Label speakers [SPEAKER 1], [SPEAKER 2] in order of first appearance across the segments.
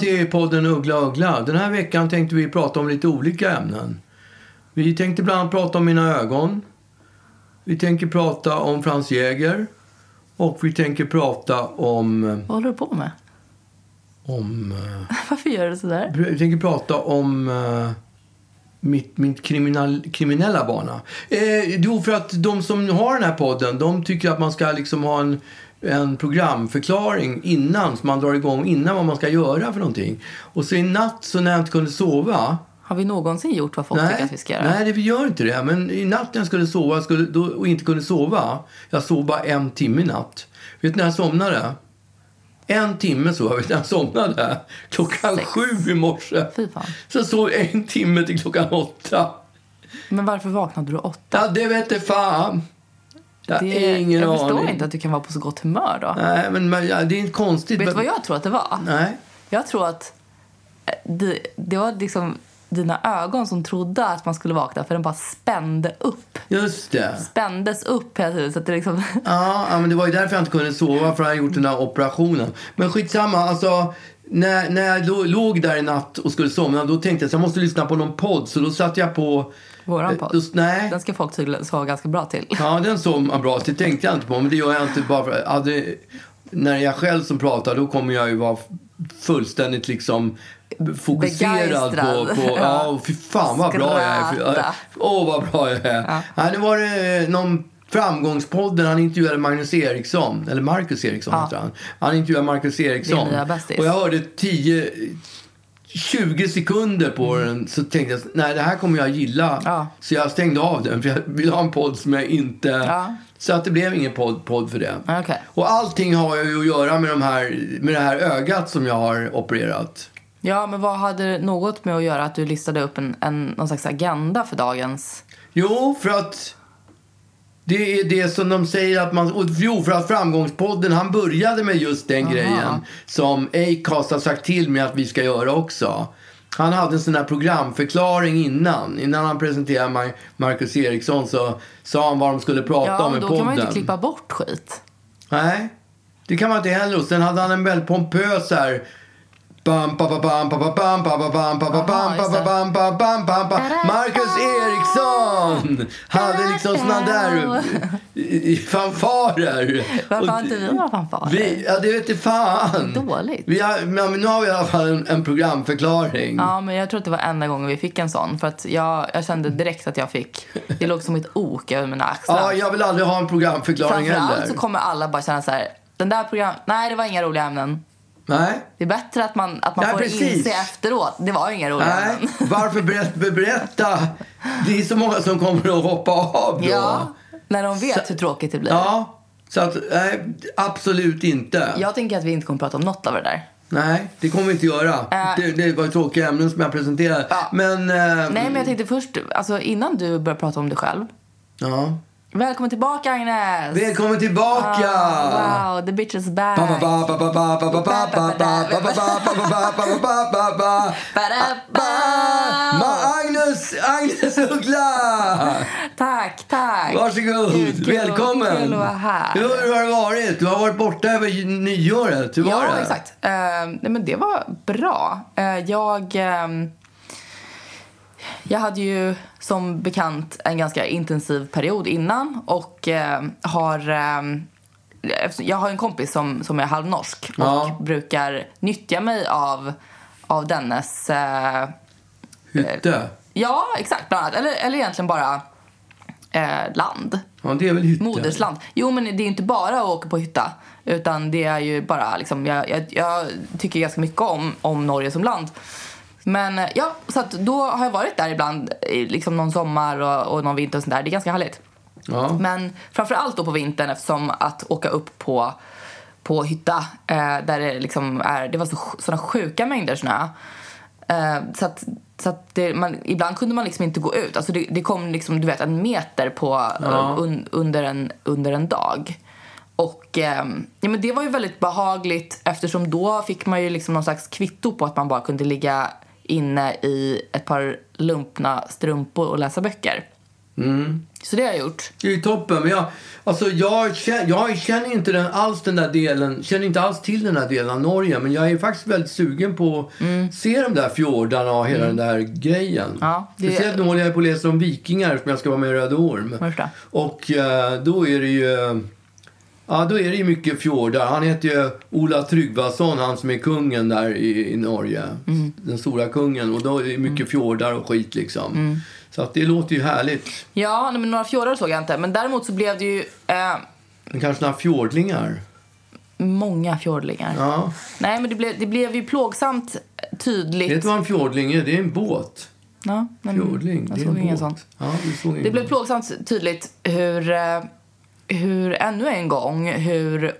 [SPEAKER 1] till podden Uggla Uggla. Den här veckan tänkte vi prata om lite olika ämnen. Vi tänkte bland annat prata om mina ögon. Vi tänker prata om Franz Jäger. Och vi tänker prata om...
[SPEAKER 2] Vad håller du på med?
[SPEAKER 1] om eh,
[SPEAKER 2] Varför gör du sådär?
[SPEAKER 1] vi tänker prata om eh, mitt, mitt kriminal, kriminella bana. Eh, jo, för att de som har den här podden, de tycker att man ska liksom ha en, en programförklaring innan, så man drar igång innan vad man ska göra för någonting. Och så i natt, så när jag inte kunde sova,
[SPEAKER 2] Har vi någonsin gjort vad folk tycker att vi ska göra?
[SPEAKER 1] Nej, det vi gör inte det. Men i natt när jag skulle sova skulle, då, och inte kunde sova. Jag sov bara en timme i natt. Vet ni när jag somnade? En timme sov jag. Vet ni när jag somnade? Klockan
[SPEAKER 2] Sex.
[SPEAKER 1] sju i morse.
[SPEAKER 2] Fy fan.
[SPEAKER 1] Så jag sov en timme till klockan åtta.
[SPEAKER 2] Men varför vaknade du åtta?
[SPEAKER 1] Ja, det vet jag fan. Jag har
[SPEAKER 2] Det-
[SPEAKER 1] ingen
[SPEAKER 2] jag
[SPEAKER 1] aning.
[SPEAKER 2] förstår inte att du kan vara på så gott humör då.
[SPEAKER 1] Nej, men men, ja, det är inte konstigt.
[SPEAKER 2] Vet du
[SPEAKER 1] men-
[SPEAKER 2] vad jag tror att det var?
[SPEAKER 1] Nej.
[SPEAKER 2] Jag tror att eh, det, det var liksom dina ögon som trodde att man skulle vakna för den bara spände upp.
[SPEAKER 1] Just det.
[SPEAKER 2] Spändes upp hela tiden så att det liksom...
[SPEAKER 1] Ja, ja, men det var ju därför jag inte kunde sova för jag hade gjort den där operationen. Men skitsamma, alltså. När, när jag då, låg där i natt och skulle somna då tänkte jag att jag måste lyssna på någon podd. Så då satte jag på...
[SPEAKER 2] Våran
[SPEAKER 1] eh,
[SPEAKER 2] podd.
[SPEAKER 1] Då, nej.
[SPEAKER 2] Den ska folk tydligen sova ganska bra till.
[SPEAKER 1] Ja, den sov man bra till. tänkte jag inte på. Men det gör jag inte bara för... Hade, när jag själv som pratar då kommer jag ju vara fullständigt liksom fokuserad på...
[SPEAKER 2] Begeistrad.
[SPEAKER 1] på ja,
[SPEAKER 2] Ja.
[SPEAKER 1] och fy fan vad bra jag är.
[SPEAKER 2] Skratta.
[SPEAKER 1] Åh, vad bra jag är. Ja.
[SPEAKER 2] Ja.
[SPEAKER 1] nu var det eh, någon Framgångspodden, han intervjuade Magnus Eriksson, eller Marcus Eriksson
[SPEAKER 2] Ja.
[SPEAKER 1] heter han. Han intervjuade Marcus Eriksson.
[SPEAKER 2] nya bästis.
[SPEAKER 1] Och jag hörde 10, 20 sekunder på den så tänkte jag, nej det här kommer jag gilla.
[SPEAKER 2] Mm. Ja.
[SPEAKER 1] Så jag stängde av den för jag ville ha en podd som jag inte...
[SPEAKER 2] Ja.
[SPEAKER 1] Så att det blev ingen podd, podd för det.
[SPEAKER 2] Ja, okej.
[SPEAKER 1] Och allting har ju att göra med, de här, med det här ögat som jag har opererat.
[SPEAKER 2] Ja, men vad hade det något med att göra att du listade upp en, en, någon slags agenda för dagens...
[SPEAKER 1] Jo, för att det är det som de säger att man... Och jo, för att Framgångspodden, han började med just den grejen som Acast har sagt till mig att vi ska göra också. Han hade en sån här programförklaring innan. Innan han presenterade Mar- Marcus Eriksson så sa han vad de skulle prata
[SPEAKER 2] Ja,
[SPEAKER 1] om i
[SPEAKER 2] men då kan man ju
[SPEAKER 1] podden.
[SPEAKER 2] inte klippa bort skit.
[SPEAKER 1] Nej, det kan man inte heller. Och sen hade han en väldigt pompös så här... Bam, pa, pa, bam, pa, pa, bam, pa, pa, bam, pa, pa, bam,
[SPEAKER 2] Aha,
[SPEAKER 1] pa,
[SPEAKER 2] just
[SPEAKER 1] pa,
[SPEAKER 2] det.
[SPEAKER 1] bam, pa, bam, pa, pa. Marcus Eriksson hade liksom såna där i- i fanfarer.
[SPEAKER 2] Varför
[SPEAKER 1] Och
[SPEAKER 2] har inte vi några fanfarer?
[SPEAKER 1] Vi, ja, det vete fan.
[SPEAKER 2] Dåligt.
[SPEAKER 1] Vi har, men nu har vi i alla fall en, en programförklaring.
[SPEAKER 2] Ja, men jag tror att det var enda gången vi fick en sån. För att jag, jag kände direkt att jag fick... Det låg som ett ok över mina
[SPEAKER 1] Ja,
[SPEAKER 2] axlar.
[SPEAKER 1] jag vill aldrig ha en programförklaring heller.
[SPEAKER 2] Framförallt så kommer alla bara känna så här... Den där program... Nej, det var inga roliga ämnen.
[SPEAKER 1] Nej.
[SPEAKER 2] Det är bättre att man, att man
[SPEAKER 1] Ja,
[SPEAKER 2] får
[SPEAKER 1] precis.
[SPEAKER 2] inse efteråt. Det var inga roliga
[SPEAKER 1] Nej,
[SPEAKER 2] ämnen.
[SPEAKER 1] varför berätt, berätta? Det är så många som kommer att hoppa av då.
[SPEAKER 2] Ja, när de vet hur tråkigt det blir.
[SPEAKER 1] Ja, så att nej, absolut inte.
[SPEAKER 2] Jag tänker att vi inte kommer prata om något av det där.
[SPEAKER 1] Nej, det kommer vi inte göra.
[SPEAKER 2] Äh.
[SPEAKER 1] Det, det var ju tråkiga ämnen som jag presenterade.
[SPEAKER 2] Ja.
[SPEAKER 1] Men, eh,
[SPEAKER 2] Nej, men jag tänkte först, alltså innan du börjar prata om dig själv.
[SPEAKER 1] ja.
[SPEAKER 2] Välkommen tillbaka Agnes!
[SPEAKER 1] Välkommen tillbaka!
[SPEAKER 2] Ah, wow, the bitch is back!
[SPEAKER 1] Ba, ba, ba, ba, ba, ba, ba, ba, ba, ba, ba, ba, ba, ba, ba, ba, ba, ba, ba, ba.
[SPEAKER 2] Ba-da-ba.
[SPEAKER 1] Ma Agnes, Agnes Uggla!
[SPEAKER 2] Tack, tack!
[SPEAKER 1] Varsågod,
[SPEAKER 2] Gud, kul att-
[SPEAKER 1] välkommen!
[SPEAKER 2] Kul att vara här.
[SPEAKER 1] Hur har det varit? Du har varit borta över nyåret. Hur var
[SPEAKER 2] ja,
[SPEAKER 1] det?
[SPEAKER 2] exakt. Eh, nej, men det var bra. Eh, jag, ehm, jag hade ju som bekant en ganska intensiv period innan och eh, har... ehm, eftersom- jag har en kompis som, som är halvnorsk och
[SPEAKER 1] Ja.
[SPEAKER 2] brukar nyttja mig av, av dennes... eh,
[SPEAKER 1] Hytte?
[SPEAKER 2] ja, exakt. Bland annat. Eller, eller egentligen bara eh, land.
[SPEAKER 1] Ja, det är väl hytte?
[SPEAKER 2] Modersland. Jo, men det är ju inte bara att åka på hytta. Utan det är ju bara liksom, jag, jag, jag tycker ganska mycket om, om Norge som land. Men eh, ja, så att då har jag varit där ibland, i liksom någon sommar och, och någon vinter och sånt där. Det är ganska härligt.
[SPEAKER 1] Ja.
[SPEAKER 2] Men framför allt då på vintern eftersom att åka upp på, på hytta eh, där det liksom är, det var så, såna sjuka mängder snö. Eh, så att, så att det, man, ibland kunde man liksom inte gå ut. Alltså det, det kom liksom, du vet, en meter på, eh,
[SPEAKER 1] Ja.
[SPEAKER 2] un, under, en, under en dag. Och ehm, ja, men det var ju väldigt behagligt eftersom då fick man ju liksom någon slags kvitto på att man bara kunde ligga inne i ett par lumpna strumpor och läsa böcker.
[SPEAKER 1] Mm.
[SPEAKER 2] Så det har jag gjort.
[SPEAKER 1] Det är ju toppen. Men jag, alltså jag, känner, jag känner inte den, alls den där delen, känner inte alls till den där delen av Norge. Men jag är faktiskt väldigt sugen på att
[SPEAKER 2] Mm.
[SPEAKER 1] se de där fjordarna och hela den där grejen.
[SPEAKER 2] Ja, det-
[SPEAKER 1] Speciellt nu håller jag på att läsa om vikingar som jag ska vara med i Röde Orm.
[SPEAKER 2] Varför då?
[SPEAKER 1] Och eh, då är det ju... Ja, då är det ju mycket fjordar. Han heter ju Ola Tryggvason, han som är kungen där i, i Norge.
[SPEAKER 2] Mm.
[SPEAKER 1] Den stora kungen. Och då är det mycket fjordar och skit liksom.
[SPEAKER 2] Mm.
[SPEAKER 1] Så att det låter ju härligt.
[SPEAKER 2] Ja, nej, men några fjordar såg jag inte. Men däremot så blev det ju eh,
[SPEAKER 1] Men kanske några fjordlingar?
[SPEAKER 2] många fjordlingar.
[SPEAKER 1] Ja.
[SPEAKER 2] Nej, men det blev, det blev ju plågsamt tydligt.
[SPEAKER 1] Vet du vad en fjordling är? Det är en båt.
[SPEAKER 2] Ja, men
[SPEAKER 1] Fjordling,
[SPEAKER 2] Mm. jag
[SPEAKER 1] det är
[SPEAKER 2] såg
[SPEAKER 1] en
[SPEAKER 2] ingen
[SPEAKER 1] båt.
[SPEAKER 2] sån.
[SPEAKER 1] Ja, du såg ingen
[SPEAKER 2] Det blev
[SPEAKER 1] båt.
[SPEAKER 2] plågsamt tydligt hur, eh, hur ännu en gång, hur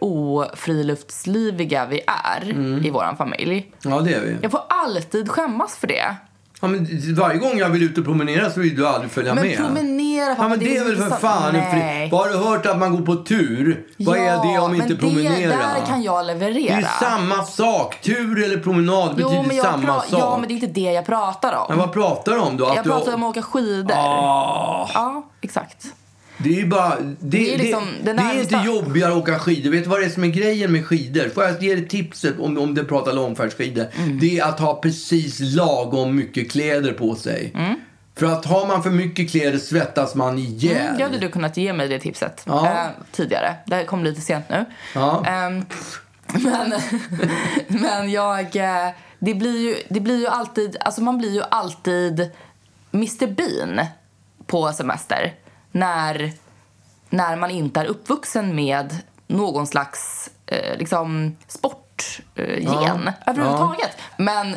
[SPEAKER 2] ofriluftsliviga vi är
[SPEAKER 1] Mm.
[SPEAKER 2] i vår familj.
[SPEAKER 1] Ja, det är vi.
[SPEAKER 2] Jag får alltid skämmas för det.
[SPEAKER 1] Ja, men varje gång jag vill ut och promenera så vill du aldrig följa
[SPEAKER 2] Men
[SPEAKER 1] med.
[SPEAKER 2] promenera,
[SPEAKER 1] Ja,
[SPEAKER 2] pappa,
[SPEAKER 1] men det är
[SPEAKER 2] så
[SPEAKER 1] väl för
[SPEAKER 2] intressant.
[SPEAKER 1] fan en fri...
[SPEAKER 2] Nej.
[SPEAKER 1] Har du hört att man går på tur? Vad är det om
[SPEAKER 2] men
[SPEAKER 1] inte promenera?
[SPEAKER 2] Det, där kan jag
[SPEAKER 1] Det
[SPEAKER 2] leverera.
[SPEAKER 1] är ju samma sak. Tur eller promenad
[SPEAKER 2] jo,
[SPEAKER 1] betyder
[SPEAKER 2] men jag
[SPEAKER 1] samma
[SPEAKER 2] pra-
[SPEAKER 1] sak.
[SPEAKER 2] Ja, men det är inte det jag pratar om.
[SPEAKER 1] Men vad pratar du om då? Att
[SPEAKER 2] jag
[SPEAKER 1] du...
[SPEAKER 2] pratar om att åka skidor.
[SPEAKER 1] Ah,
[SPEAKER 2] Ja, exakt.
[SPEAKER 1] det är ju bara... Det,
[SPEAKER 2] är liksom
[SPEAKER 1] det,
[SPEAKER 2] den
[SPEAKER 1] det är
[SPEAKER 2] närmsta-
[SPEAKER 1] inte jobbigare att åka skidor. Vet du vad det är som är grejen med skidor? Får jag ge dig tipset om, om du pratar långfärdsskidor?
[SPEAKER 2] Mm.
[SPEAKER 1] Det är att ha precis lagom mycket kläder på sig. För att har man för mycket kläder svettas man ihjäl.
[SPEAKER 2] Mm, det hade du kunnat ge mig det tipset
[SPEAKER 1] Ja.
[SPEAKER 2] eh, tidigare. Det här kom lite sent nu.
[SPEAKER 1] Ja.
[SPEAKER 2] Ehm, men, men jag... eh, Det blir ju, det blir ju alltid... Alltså man blir ju alltid Mr Bean på semester när, när man inte är uppvuxen med någon slags eh, liksom, sportgen eh, gen överhuvudtaget. Men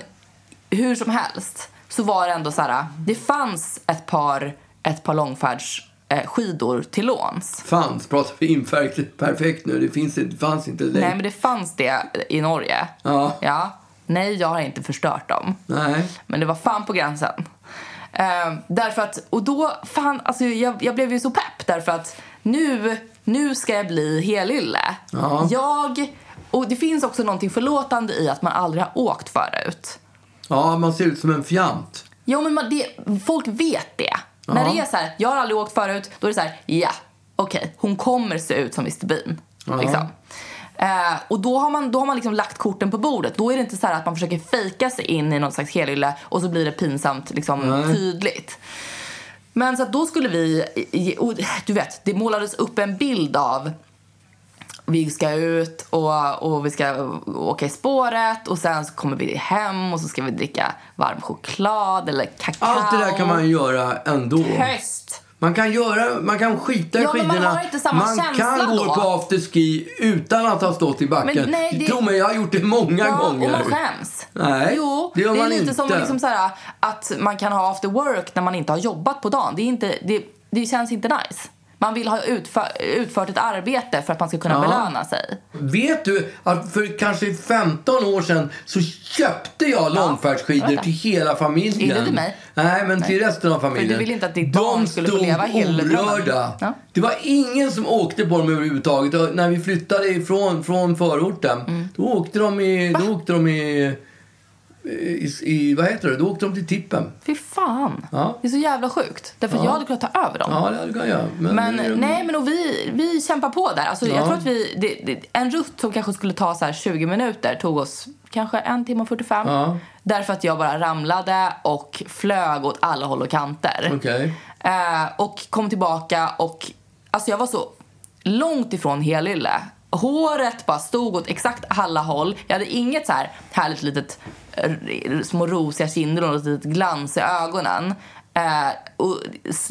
[SPEAKER 2] hur som helst så var det ändå så här... Det fanns ett par, ett par långfärdsskidor eh, skidor till låns.
[SPEAKER 1] Fanns, pratar vi imperfekt perfekt nu? Det finns inte, fanns inte längre.
[SPEAKER 2] Nej, men det fanns det i Norge.
[SPEAKER 1] Ja.
[SPEAKER 2] Nej, jag har inte förstört dem.
[SPEAKER 1] Nej.
[SPEAKER 2] Men det var fan på gränsen. Ehm, därför att, och då, fan, alltså jag, jag blev ju så pepp därför att nu, nu ska jag bli helylle.
[SPEAKER 1] Ja.
[SPEAKER 2] Jag, och det finns också någonting förlåtande i att man aldrig har åkt förut.
[SPEAKER 1] Ja, man ser ut som en fjant.
[SPEAKER 2] Jo, men man, det, folk vet det. När det är så här, jag har aldrig åkt förut, då är det så här, ja, okej, hon kommer se ut som Mr Bean.
[SPEAKER 1] Ja.
[SPEAKER 2] Liksom. Eh, och då har man, då har man liksom lagt korten på bordet. Då är det inte så här att man försöker fejka sig in i någon slags helylle och så blir det pinsamt liksom, tydligt. Men så att då skulle vi... ge- Och, du vet, det målades upp en bild av vi ska ut och, och vi ska åka i spåret och sen så kommer vi hem och så ska vi dricka varm choklad eller kakao.
[SPEAKER 1] Allt det där kan man göra ändå.
[SPEAKER 2] Höst!
[SPEAKER 1] Man kan, göra, man kan skita i
[SPEAKER 2] Ja, men man
[SPEAKER 1] skidorna.
[SPEAKER 2] har inte samma
[SPEAKER 1] man
[SPEAKER 2] känsla
[SPEAKER 1] kan gå
[SPEAKER 2] då.
[SPEAKER 1] på afterski utan att ha stått i backen.
[SPEAKER 2] Men nej, det-
[SPEAKER 1] Tro mig, jag har gjort det många
[SPEAKER 2] Ja,
[SPEAKER 1] gånger.
[SPEAKER 2] och man skäms.
[SPEAKER 1] Nej,
[SPEAKER 2] jo,
[SPEAKER 1] det gör
[SPEAKER 2] är
[SPEAKER 1] man
[SPEAKER 2] lite som
[SPEAKER 1] inte.
[SPEAKER 2] liksom så här, att man kan ha after work när man inte har jobbat på dagen. Det, är inte, det, det känns inte nice. Man vill ha utför, utfört ett arbete för att man ska kunna
[SPEAKER 1] Ja.
[SPEAKER 2] belöna sig.
[SPEAKER 1] Vet du att för kanske 15 år sedan så köpte jag
[SPEAKER 2] jag vet
[SPEAKER 1] långfärdsskidor
[SPEAKER 2] det.
[SPEAKER 1] till hela familjen.
[SPEAKER 2] Inte till mig.
[SPEAKER 1] Nej, men till resten av familjen.
[SPEAKER 2] För du ville inte att ditt
[SPEAKER 1] De
[SPEAKER 2] barn skulle få leva
[SPEAKER 1] stod
[SPEAKER 2] helbrömmen.
[SPEAKER 1] orörda.
[SPEAKER 2] Ja.
[SPEAKER 1] Det var ingen som åkte på dem överhuvudtaget. Och när vi flyttade ifrån från förorten,
[SPEAKER 2] Mm.
[SPEAKER 1] då åkte de i... Då åkte de i, i, i vad heter det? Då åkte de till tippen.
[SPEAKER 2] Fy fan!
[SPEAKER 1] Ja.
[SPEAKER 2] Det är så jävla sjukt. Därför att jag hade kunnat ta över dem.
[SPEAKER 1] Ja, det hade jag göra. Men,
[SPEAKER 2] Men
[SPEAKER 1] nu är de-
[SPEAKER 2] nej, men och vi, vi kämpar på där. Alltså,
[SPEAKER 1] Ja.
[SPEAKER 2] Jag tror att vi, det, det, en rutt som kanske skulle ta så här 20 minuter tog oss kanske en timme och 45.
[SPEAKER 1] Ja.
[SPEAKER 2] Därför att jag bara ramlade och flög åt alla håll och kanter.
[SPEAKER 1] Okej.
[SPEAKER 2] Eh, och kom tillbaka och alltså jag var så långt ifrån helylle. Håret bara stod åt exakt alla håll. Jag hade inget så här härligt litet eh, små rosiga kinder och något litet glans i ögonen. Eh, och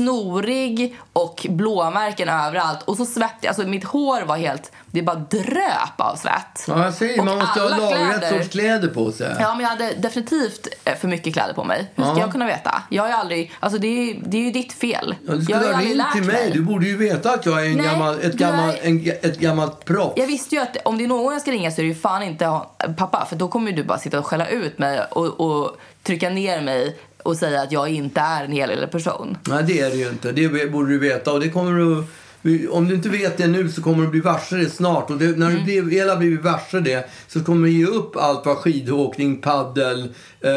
[SPEAKER 2] snorig och blåmärken överallt. Och så svett, alltså mitt hår var helt, det bara dröp av svett.
[SPEAKER 1] Ja, jag säger,
[SPEAKER 2] Och
[SPEAKER 1] man måste ha
[SPEAKER 2] alla
[SPEAKER 1] lagrat
[SPEAKER 2] kläder.
[SPEAKER 1] sorts kläder på sig.
[SPEAKER 2] Ja, men jag hade definitivt eh, för mycket kläder på mig. Hur ska
[SPEAKER 1] Ja.
[SPEAKER 2] jag kunna veta? Jag har ju aldrig... Alltså det är, ju- det är ju ditt fel.
[SPEAKER 1] Ja, du
[SPEAKER 2] jag
[SPEAKER 1] skulle
[SPEAKER 2] har ju
[SPEAKER 1] ha
[SPEAKER 2] aldrig
[SPEAKER 1] ringt
[SPEAKER 2] lärt
[SPEAKER 1] till mig. Du borde ju veta att jag är en
[SPEAKER 2] Nej,
[SPEAKER 1] gammal, ett,
[SPEAKER 2] du är-
[SPEAKER 1] gammal, en, ett gammalt proffs.
[SPEAKER 2] Jag visste ju att om det är någon jag ska ringa så är det ju fan inte ha- pappa. För då kommer ju du bara sitta och skälla ut mig och, och trycka ner mig och säga att jag inte är en hel eller person.
[SPEAKER 1] Nej, det är det ju inte. Det borde du veta och det kommer du vi- om du inte vet det nu så kommer du bli varse det snart. Och det, när
[SPEAKER 2] Mm.
[SPEAKER 1] du blir, väl har blivit varse det så kommer du ge upp allt vad skidåkning, paddel, eh,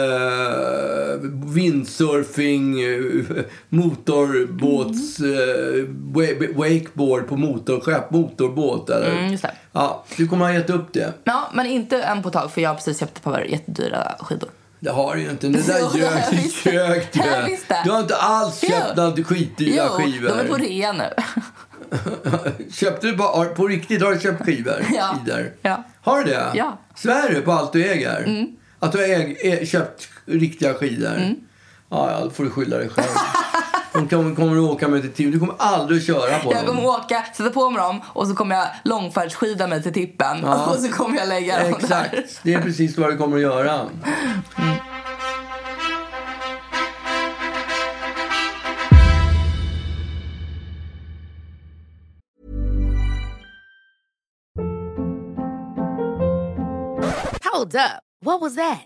[SPEAKER 1] windsurfing, eh, motorbåts,
[SPEAKER 2] Mm.
[SPEAKER 1] eh, wa- wakeboard på motorskepp, motorbåt. Eller?
[SPEAKER 2] Mm, just det.
[SPEAKER 1] Ja, du kommer ha gett upp det.
[SPEAKER 2] Ja, men inte än på ett tag för jag har precis köpt ett par jättedyra skidor.
[SPEAKER 1] Det har du ju inte. Det
[SPEAKER 2] Jo,
[SPEAKER 1] där
[SPEAKER 2] jag
[SPEAKER 1] ljög
[SPEAKER 2] visste.
[SPEAKER 1] du. ljög du.
[SPEAKER 2] Jag visste.
[SPEAKER 1] Du har inte alls köpt
[SPEAKER 2] Jo.
[SPEAKER 1] några skitdyra skivor.
[SPEAKER 2] de är på rea nu.
[SPEAKER 1] Köpte du bara, på riktigt, har du köpt skivor?
[SPEAKER 2] Ja.
[SPEAKER 1] Skidor?
[SPEAKER 2] Ja.
[SPEAKER 1] Har du det?
[SPEAKER 2] Ja. Mm.
[SPEAKER 1] Svär du på allt du äger? Att du har äg, ä, köpt riktiga skidor? Ja, ja, då får du skylla dig själv. De kommer, kommer du åka med till Tibro. Du kommer aldrig att köra på
[SPEAKER 2] Jag
[SPEAKER 1] dem.
[SPEAKER 2] kommer åka, sätta på mig dem och så kommer jag långfärdsskida mig till tippen
[SPEAKER 1] Ja.
[SPEAKER 2] och så kommer jag lägga dem där.
[SPEAKER 1] Exakt. Det är precis vad du kommer att göra.
[SPEAKER 3] Hold up. What was that?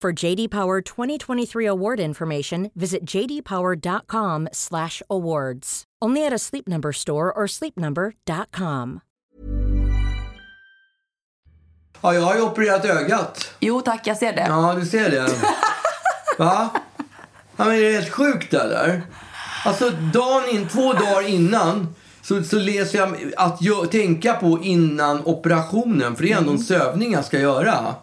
[SPEAKER 4] For JD Power 2023 award information, visit jdpower.com/awards. Only at a Sleep Number store or sleepnumber.com.
[SPEAKER 1] Ja, jag har ju opererat ögat.
[SPEAKER 2] Jo tack, jag ser det.
[SPEAKER 1] Ja, du ser det. Va? Ja, men är det helt sjukt eller? Alltså, dagen in, två dagar innan så, så läser jag att gö- tänka på innan operationen. För det är ändå
[SPEAKER 2] Mm.
[SPEAKER 1] en sövning jag ska göra.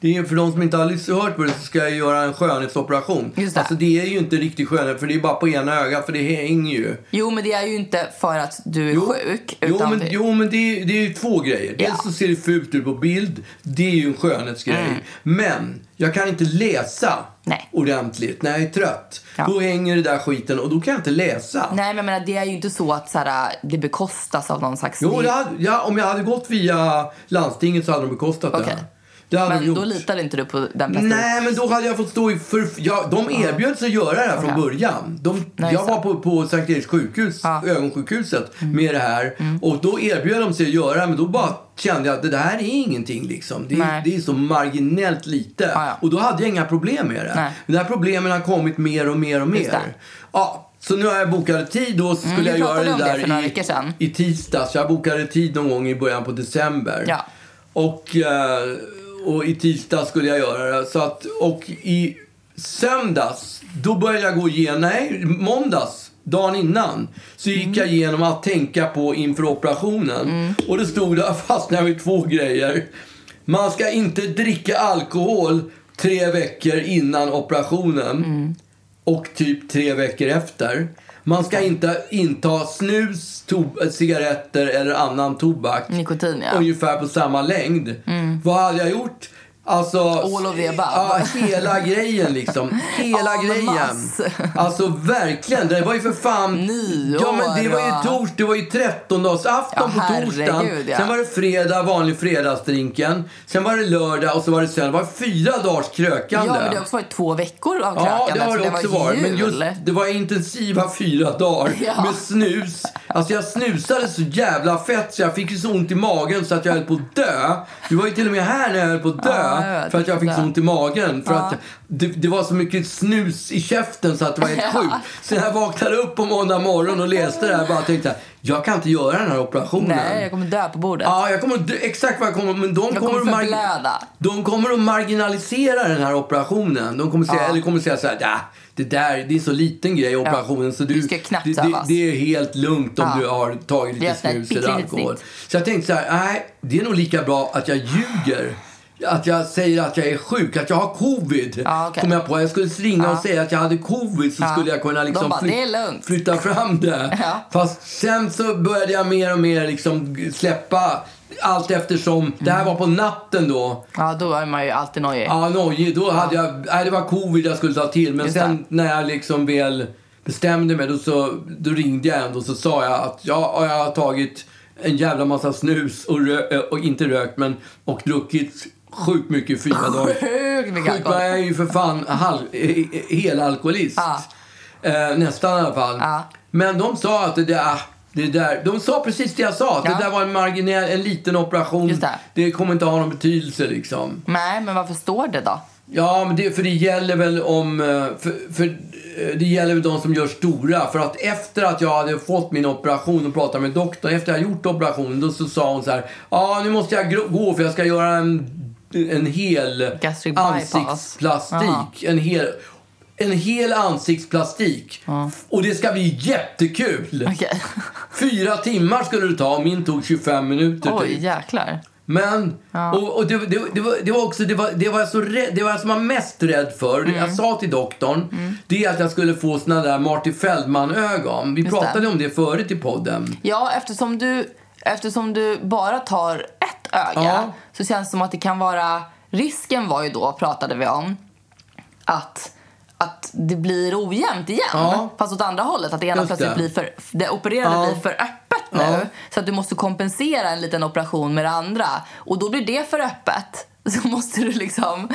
[SPEAKER 1] Det är, för de som inte har lys- hört på det så ska jag göra en skönhetsoperation.
[SPEAKER 2] Just det.
[SPEAKER 1] Alltså det är ju inte riktigt skönhet för det är bara på ena ögat för det hänger ju.
[SPEAKER 2] Jo men det är ju inte för att du är sjuk.
[SPEAKER 1] Jo,
[SPEAKER 2] utan
[SPEAKER 1] men,
[SPEAKER 2] det-
[SPEAKER 1] jo, men det, är, det är ju två grejer. Dels
[SPEAKER 2] Ja. Mm.
[SPEAKER 1] så ser det fult ut på bild. Det är ju en skönhetsgrej. Men jag kan inte läsa
[SPEAKER 2] Nej.
[SPEAKER 1] ordentligt när jag är trött.
[SPEAKER 2] Ja.
[SPEAKER 1] Då hänger det där skiten och då kan jag inte läsa.
[SPEAKER 2] Nej men jag menar, det är ju inte så att så här, det bekostas av någon slags...
[SPEAKER 1] Jo, det hade, ja, om jag hade gått via landstinget så hade de bekostat
[SPEAKER 2] Okej.
[SPEAKER 1] det. Det hade de
[SPEAKER 2] men
[SPEAKER 1] gjort.
[SPEAKER 2] då litade inte du på den bästa
[SPEAKER 1] Nej, men då hade jag fått stå i... För, ja, de erbjöd sig att göra det här från
[SPEAKER 2] Okej.
[SPEAKER 1] början. De,
[SPEAKER 2] Nej,
[SPEAKER 1] jag
[SPEAKER 2] just det.
[SPEAKER 1] var på, på Sankt Eriks sjukhus,
[SPEAKER 2] Ja. Mm.
[SPEAKER 1] ögonsjukhuset, med det här. Och då erbjöd de sig att göra det, men då bara kände jag att det här är ingenting liksom. Det,
[SPEAKER 2] Nej.
[SPEAKER 1] är- det är så marginellt lite.
[SPEAKER 2] Ja, ja.
[SPEAKER 1] Och då hade jag inga problem med det.
[SPEAKER 2] Nej.
[SPEAKER 1] Men de här problemen har kommit mer och mer och
[SPEAKER 2] Just det. Mm,
[SPEAKER 1] mer. Ja, så nu har jag bokat tid och så skulle jag
[SPEAKER 2] vi
[SPEAKER 1] göra
[SPEAKER 2] pratade
[SPEAKER 1] det
[SPEAKER 2] om det
[SPEAKER 1] där
[SPEAKER 2] för några
[SPEAKER 1] i,
[SPEAKER 2] veckor sedan.
[SPEAKER 1] i tisdags. Jag bokade tid någon gång i början på december.
[SPEAKER 2] Ja.
[SPEAKER 1] Och, eh, och i tisdag skulle jag göra det. Så att, och i söndags, då började jag gå igenom, nej, måndags, dagen innan, så gick jag igenom att tänka på inför operationen. Och det stod där, fastnade jag vid två grejer. Man ska inte dricka alkohol tre veckor innan operationen och typ tre veckor efter. Man ska inte inta snus, to- cigaretter eller annan tobak.
[SPEAKER 2] Nikotin, ja. Mm.
[SPEAKER 1] Ungefär på samma längd. Vad hade jag gjort? Alltså...
[SPEAKER 2] All of the above.
[SPEAKER 1] Ja, hela grejen liksom. Hela
[SPEAKER 2] En
[SPEAKER 1] grejen.
[SPEAKER 2] masse.
[SPEAKER 1] Alltså verkligen. Det var ju för fan...
[SPEAKER 2] Nyår
[SPEAKER 1] Ja men det var
[SPEAKER 2] och-
[SPEAKER 1] ju tors... Det var ju trettondagsafton
[SPEAKER 2] Ja,
[SPEAKER 1] på torsdagen.
[SPEAKER 2] herregud, ja.
[SPEAKER 1] Sen var det fredag, vanlig fredagsdrinken. Sen var det lördag och så var det söndag. Det var fyra dagars
[SPEAKER 2] Ja,
[SPEAKER 1] krökande.
[SPEAKER 2] men det har också varit två veckor av
[SPEAKER 1] Ja, det
[SPEAKER 2] krökande.
[SPEAKER 1] har
[SPEAKER 2] för
[SPEAKER 1] det också
[SPEAKER 2] alltså, var
[SPEAKER 1] varit. Men
[SPEAKER 2] jul.
[SPEAKER 1] just, det var intensiva fyra dagar
[SPEAKER 2] Ja.
[SPEAKER 1] med snus. Alltså jag snusade så jävla fett så jag fick ju så ont i magen så att jag höll på att dö. Du var ju till och med här när jag höll på att
[SPEAKER 2] Ja,
[SPEAKER 1] dö
[SPEAKER 2] jag vet,
[SPEAKER 1] för att jag fick
[SPEAKER 2] det.
[SPEAKER 1] så ont i magen. För att det, det var så mycket snus i käften så att det var helt
[SPEAKER 2] Ja.
[SPEAKER 1] sjukt. Så när jag vaknade upp på måndag morgon och läste det här bara tänkte jag, jag kan inte göra den här operationen.
[SPEAKER 2] Nej, jag kommer dö på bordet.
[SPEAKER 1] Ja, jag kommer att dö- exakt vad jag kommer men de
[SPEAKER 2] Jag kommer
[SPEAKER 1] att mar-
[SPEAKER 2] förblöda.
[SPEAKER 1] De kommer att marginalisera den här operationen. De kommer säga,
[SPEAKER 2] Ja.
[SPEAKER 1] eller kommer säga så här, "Nä, det där det är så liten grej operationen så du,
[SPEAKER 2] Du ska knappt
[SPEAKER 1] det, det,
[SPEAKER 2] sövas."
[SPEAKER 1] det är helt lugnt om
[SPEAKER 2] Ja.
[SPEAKER 1] du har tagit
[SPEAKER 2] Vi
[SPEAKER 1] lite
[SPEAKER 2] öppnar ett
[SPEAKER 1] snus eller
[SPEAKER 2] pyttelitet
[SPEAKER 1] alkohol.
[SPEAKER 2] snitt.
[SPEAKER 1] Så jag tänkte så här, nej, det är nog lika bra att jag ljuger. att jag säger att jag är sjuk, att jag har covid.
[SPEAKER 2] Ja, okej.
[SPEAKER 1] Kom jag på. Jag skulle ringa och säga att jag hade covid så
[SPEAKER 2] Ja.
[SPEAKER 1] skulle jag kunna
[SPEAKER 2] De
[SPEAKER 1] liksom
[SPEAKER 2] bara,
[SPEAKER 1] flyt-
[SPEAKER 2] "Det är lugnt."
[SPEAKER 1] flytta fram det.
[SPEAKER 2] Ja.
[SPEAKER 1] Fast sen så började jag mer och mer liksom släppa allt eftersom.
[SPEAKER 2] Mm.
[SPEAKER 1] Det här var på natten då.
[SPEAKER 2] Ja, då är man ju alltid nojig.
[SPEAKER 1] Ja, nojig. Då hade jag... Nej, det var covid jag skulle ta till. Men
[SPEAKER 2] Just
[SPEAKER 1] sen
[SPEAKER 2] det.
[SPEAKER 1] när jag liksom väl bestämde mig, då, så, då ringde jag ändå så sa jag att ja, ja, jag har tagit en jävla massa snus och, rö- eh, och inte rökt, men och druckit sjukt mycket i fyra dagar.
[SPEAKER 2] Sjukt mycket
[SPEAKER 1] Sjukt, men
[SPEAKER 2] alkohol.
[SPEAKER 1] jag är ju för fan hal- eh, eh, helalkoholist.
[SPEAKER 2] Ja.
[SPEAKER 1] Eh, nästan i alla fall.
[SPEAKER 2] Ja.
[SPEAKER 1] Men de sa att det där, det där... De sa precis det jag sa. Att
[SPEAKER 2] Ja.
[SPEAKER 1] det där var en marginell, en liten operation.
[SPEAKER 2] Just det.
[SPEAKER 1] det kommer inte ha någon betydelse liksom.
[SPEAKER 2] Nej, men varför står det då?
[SPEAKER 1] Ja, men det, för det gäller väl om... eh, För, för eh, det gäller väl de som gör stora. För att efter att jag hade fått min operation och pratat med doktorn, efter jag gjort operationen, då så sa hon så här. Ja, nu måste jag gro- gå för jag ska göra en, en hel
[SPEAKER 2] Gastric bypass. Jaha.
[SPEAKER 1] ansiktsplastik. En hel, en hel ansiktsplastik. Och det ska bli jättekul!
[SPEAKER 2] Okej.
[SPEAKER 1] Fyra timmar skulle det ta, min tog 25 minuter
[SPEAKER 2] Oj,
[SPEAKER 1] typ.
[SPEAKER 2] jäklar.
[SPEAKER 1] Men,
[SPEAKER 2] Ja.
[SPEAKER 1] och, och det, det, det, var, det var också, det var, det var jag så rädd, det var jag som var mest rädd för, det
[SPEAKER 2] Mm.
[SPEAKER 1] jag sa till doktorn, det är att jag skulle få såna där Marty Feldman-ögon. Vi
[SPEAKER 2] det.
[SPEAKER 1] pratade om det förut i podden.
[SPEAKER 2] Ja, eftersom du, eftersom du bara tar ett öga
[SPEAKER 1] Ja.
[SPEAKER 2] så känns det som att det kan vara... Risken var ju då, pratade vi om, att, att det blir ojämnt igen.
[SPEAKER 1] Ja.
[SPEAKER 2] Fast åt andra hållet, att det ena
[SPEAKER 1] Just
[SPEAKER 2] plötsligt
[SPEAKER 1] det.
[SPEAKER 2] blir för... Det opererade
[SPEAKER 1] Ja.
[SPEAKER 2] blir för öppet nu.
[SPEAKER 1] Ja.
[SPEAKER 2] Så att du måste kompensera en liten operation med det andra. Och då blir det för öppet. Så måste du liksom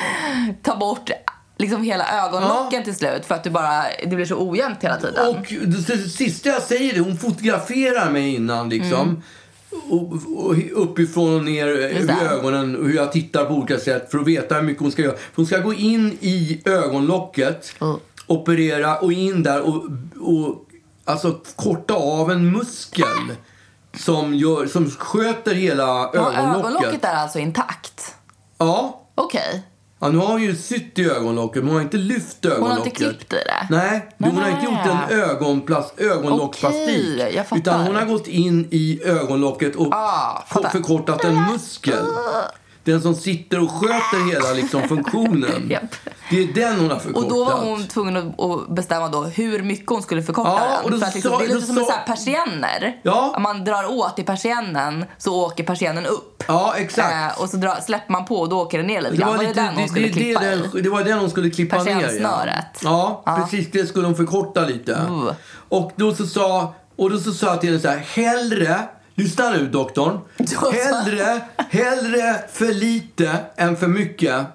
[SPEAKER 2] ta bort liksom hela ögonlocken till slut för att du bara, det blir så ojämnt hela tiden.
[SPEAKER 1] Och det, det sista jag säger det, hon fotograferar mig innan liksom.
[SPEAKER 2] Mm.
[SPEAKER 1] Och, och uppifrån och ner vid
[SPEAKER 2] det.
[SPEAKER 1] ögonen och hur jag tittar på olika sätt för att veta hur mycket hon ska göra. För hon ska gå in i ögonlocket,
[SPEAKER 2] Mm.
[SPEAKER 1] operera och in där och, och alltså korta av en muskel som, gör, som sköter hela
[SPEAKER 2] Ja,
[SPEAKER 1] ögonlocket.
[SPEAKER 2] ögonlocket är alltså intakt.
[SPEAKER 1] Ja.
[SPEAKER 2] Okej.
[SPEAKER 1] Ja, nu har hon ju sytt i ögonlocket, men hon har inte lyft ögonlocket.
[SPEAKER 2] Hon har inte klippt i det?
[SPEAKER 1] Nej,
[SPEAKER 2] Nej.
[SPEAKER 1] hon har inte gjort en ögonplast, ögonlocksplastik.
[SPEAKER 2] Okej, jag fattar.
[SPEAKER 1] utan hon har gått in i ögonlocket och
[SPEAKER 2] Ah,
[SPEAKER 1] ko-
[SPEAKER 2] fattar.
[SPEAKER 1] förkortat en muskel. Den som sitter och sköter hela liksom, funktionen.
[SPEAKER 2] Japp.
[SPEAKER 1] Det är den hon har förkortat.
[SPEAKER 2] Och då var hon tvungen att- att bestämma då hur mycket hon skulle förkorta
[SPEAKER 1] Ja, och
[SPEAKER 2] den.
[SPEAKER 1] då
[SPEAKER 2] För att liksom,
[SPEAKER 1] sa-
[SPEAKER 2] det är lite
[SPEAKER 1] då
[SPEAKER 2] som en
[SPEAKER 1] sa-
[SPEAKER 2] så här persienner.
[SPEAKER 1] Ja.
[SPEAKER 2] Om Man drar åt i persiennen så åker persiennen upp.
[SPEAKER 1] Ja, exakt.
[SPEAKER 2] Eh, och så drar, släpper man på och då åker den ner lite
[SPEAKER 1] Det
[SPEAKER 2] grann.
[SPEAKER 1] var,
[SPEAKER 2] Var det
[SPEAKER 1] lite,
[SPEAKER 2] den hon skulle
[SPEAKER 1] det,
[SPEAKER 2] klippa
[SPEAKER 1] det,
[SPEAKER 2] i?
[SPEAKER 1] det, det var den hon skulle klippa ner.
[SPEAKER 2] Persiennsnöret.
[SPEAKER 1] Ja.
[SPEAKER 2] Ja.
[SPEAKER 1] ja, precis. Det skulle hon förkorta lite.
[SPEAKER 2] Uh.
[SPEAKER 1] Och då så sa, och då så sa jag till henne så här, hellre, lyssna nu doktorn,
[SPEAKER 2] sa-
[SPEAKER 1] hellre, hellre för lite än för mycket.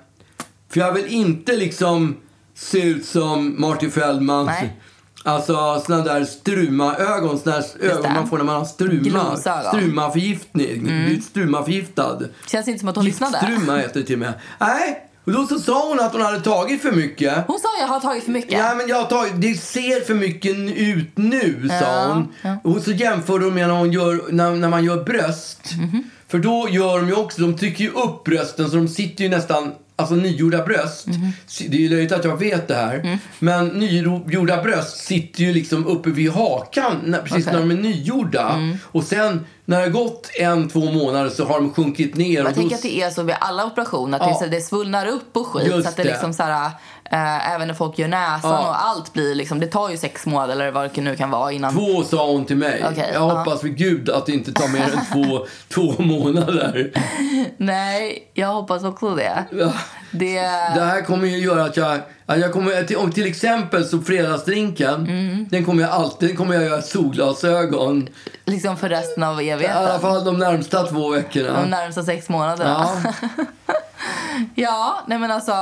[SPEAKER 1] För jag vill inte liksom se ut som Marty Feldman.
[SPEAKER 2] Nej.
[SPEAKER 1] Alltså såna där strumaögon, såna där ögon
[SPEAKER 2] det.
[SPEAKER 1] man får när man har struma,
[SPEAKER 2] Glosögon.
[SPEAKER 1] strumaförgiftning, mm. strumaförgiftad.
[SPEAKER 2] Känns inte som att hon lyssnade.
[SPEAKER 1] Giftstruma heter det till och med. Nej, och då så sa hon att hon hade tagit för mycket.
[SPEAKER 2] Hon sa jag har tagit för mycket.
[SPEAKER 1] Ja, men jag har tagit, det ser för mycket ut nu, sa hon. Och så jämför hon med när, hon gör, när, när man gör bröst.
[SPEAKER 2] Mhm.
[SPEAKER 1] För då gör de ju också, de trycker ju upp brösten så de sitter ju nästan, alltså nygjorda bröst.
[SPEAKER 2] Mhm.
[SPEAKER 1] Så Det är ju löjligt att jag vet det här.
[SPEAKER 2] Mm.
[SPEAKER 1] Men nygjorda bröst sitter ju liksom uppe vid hakan när, precis
[SPEAKER 2] Okej. Mm.
[SPEAKER 1] när de är nygjorda. Och sen när det har gått en, två månader så har de sjunkit ner. och
[SPEAKER 2] Jag
[SPEAKER 1] då
[SPEAKER 2] tänker att det är så vid alla operationer, att det, är
[SPEAKER 1] Ja.
[SPEAKER 2] så, det svullnar upp och skit.
[SPEAKER 1] Just
[SPEAKER 2] så att det,
[SPEAKER 1] det.
[SPEAKER 2] liksom så här, eh, även när folk gör näsan
[SPEAKER 1] Ja.
[SPEAKER 2] och allt blir liksom, det tar ju sex månader eller vad det nu kan vara innan.
[SPEAKER 1] Två sa hon till mig.
[SPEAKER 2] Okej,
[SPEAKER 1] jag
[SPEAKER 2] ja.
[SPEAKER 1] hoppas vid gud att det inte tar mer än två, två månader.
[SPEAKER 2] Nej, jag hoppas också det.
[SPEAKER 1] Ja.
[SPEAKER 2] Det,
[SPEAKER 1] Det här kommer ju göra att jag... Att jag kommer, till- om till exempel så fredagsdrinken,
[SPEAKER 2] Mm.
[SPEAKER 1] den kommer jag alltid den kommer jag göra solglasögon.
[SPEAKER 2] liksom för resten av
[SPEAKER 1] I alla
[SPEAKER 2] evigheten.
[SPEAKER 1] fall de närmsta två veckorna.
[SPEAKER 2] De närmsta sex månaderna.
[SPEAKER 1] Ja.
[SPEAKER 2] Ja, nej men alltså,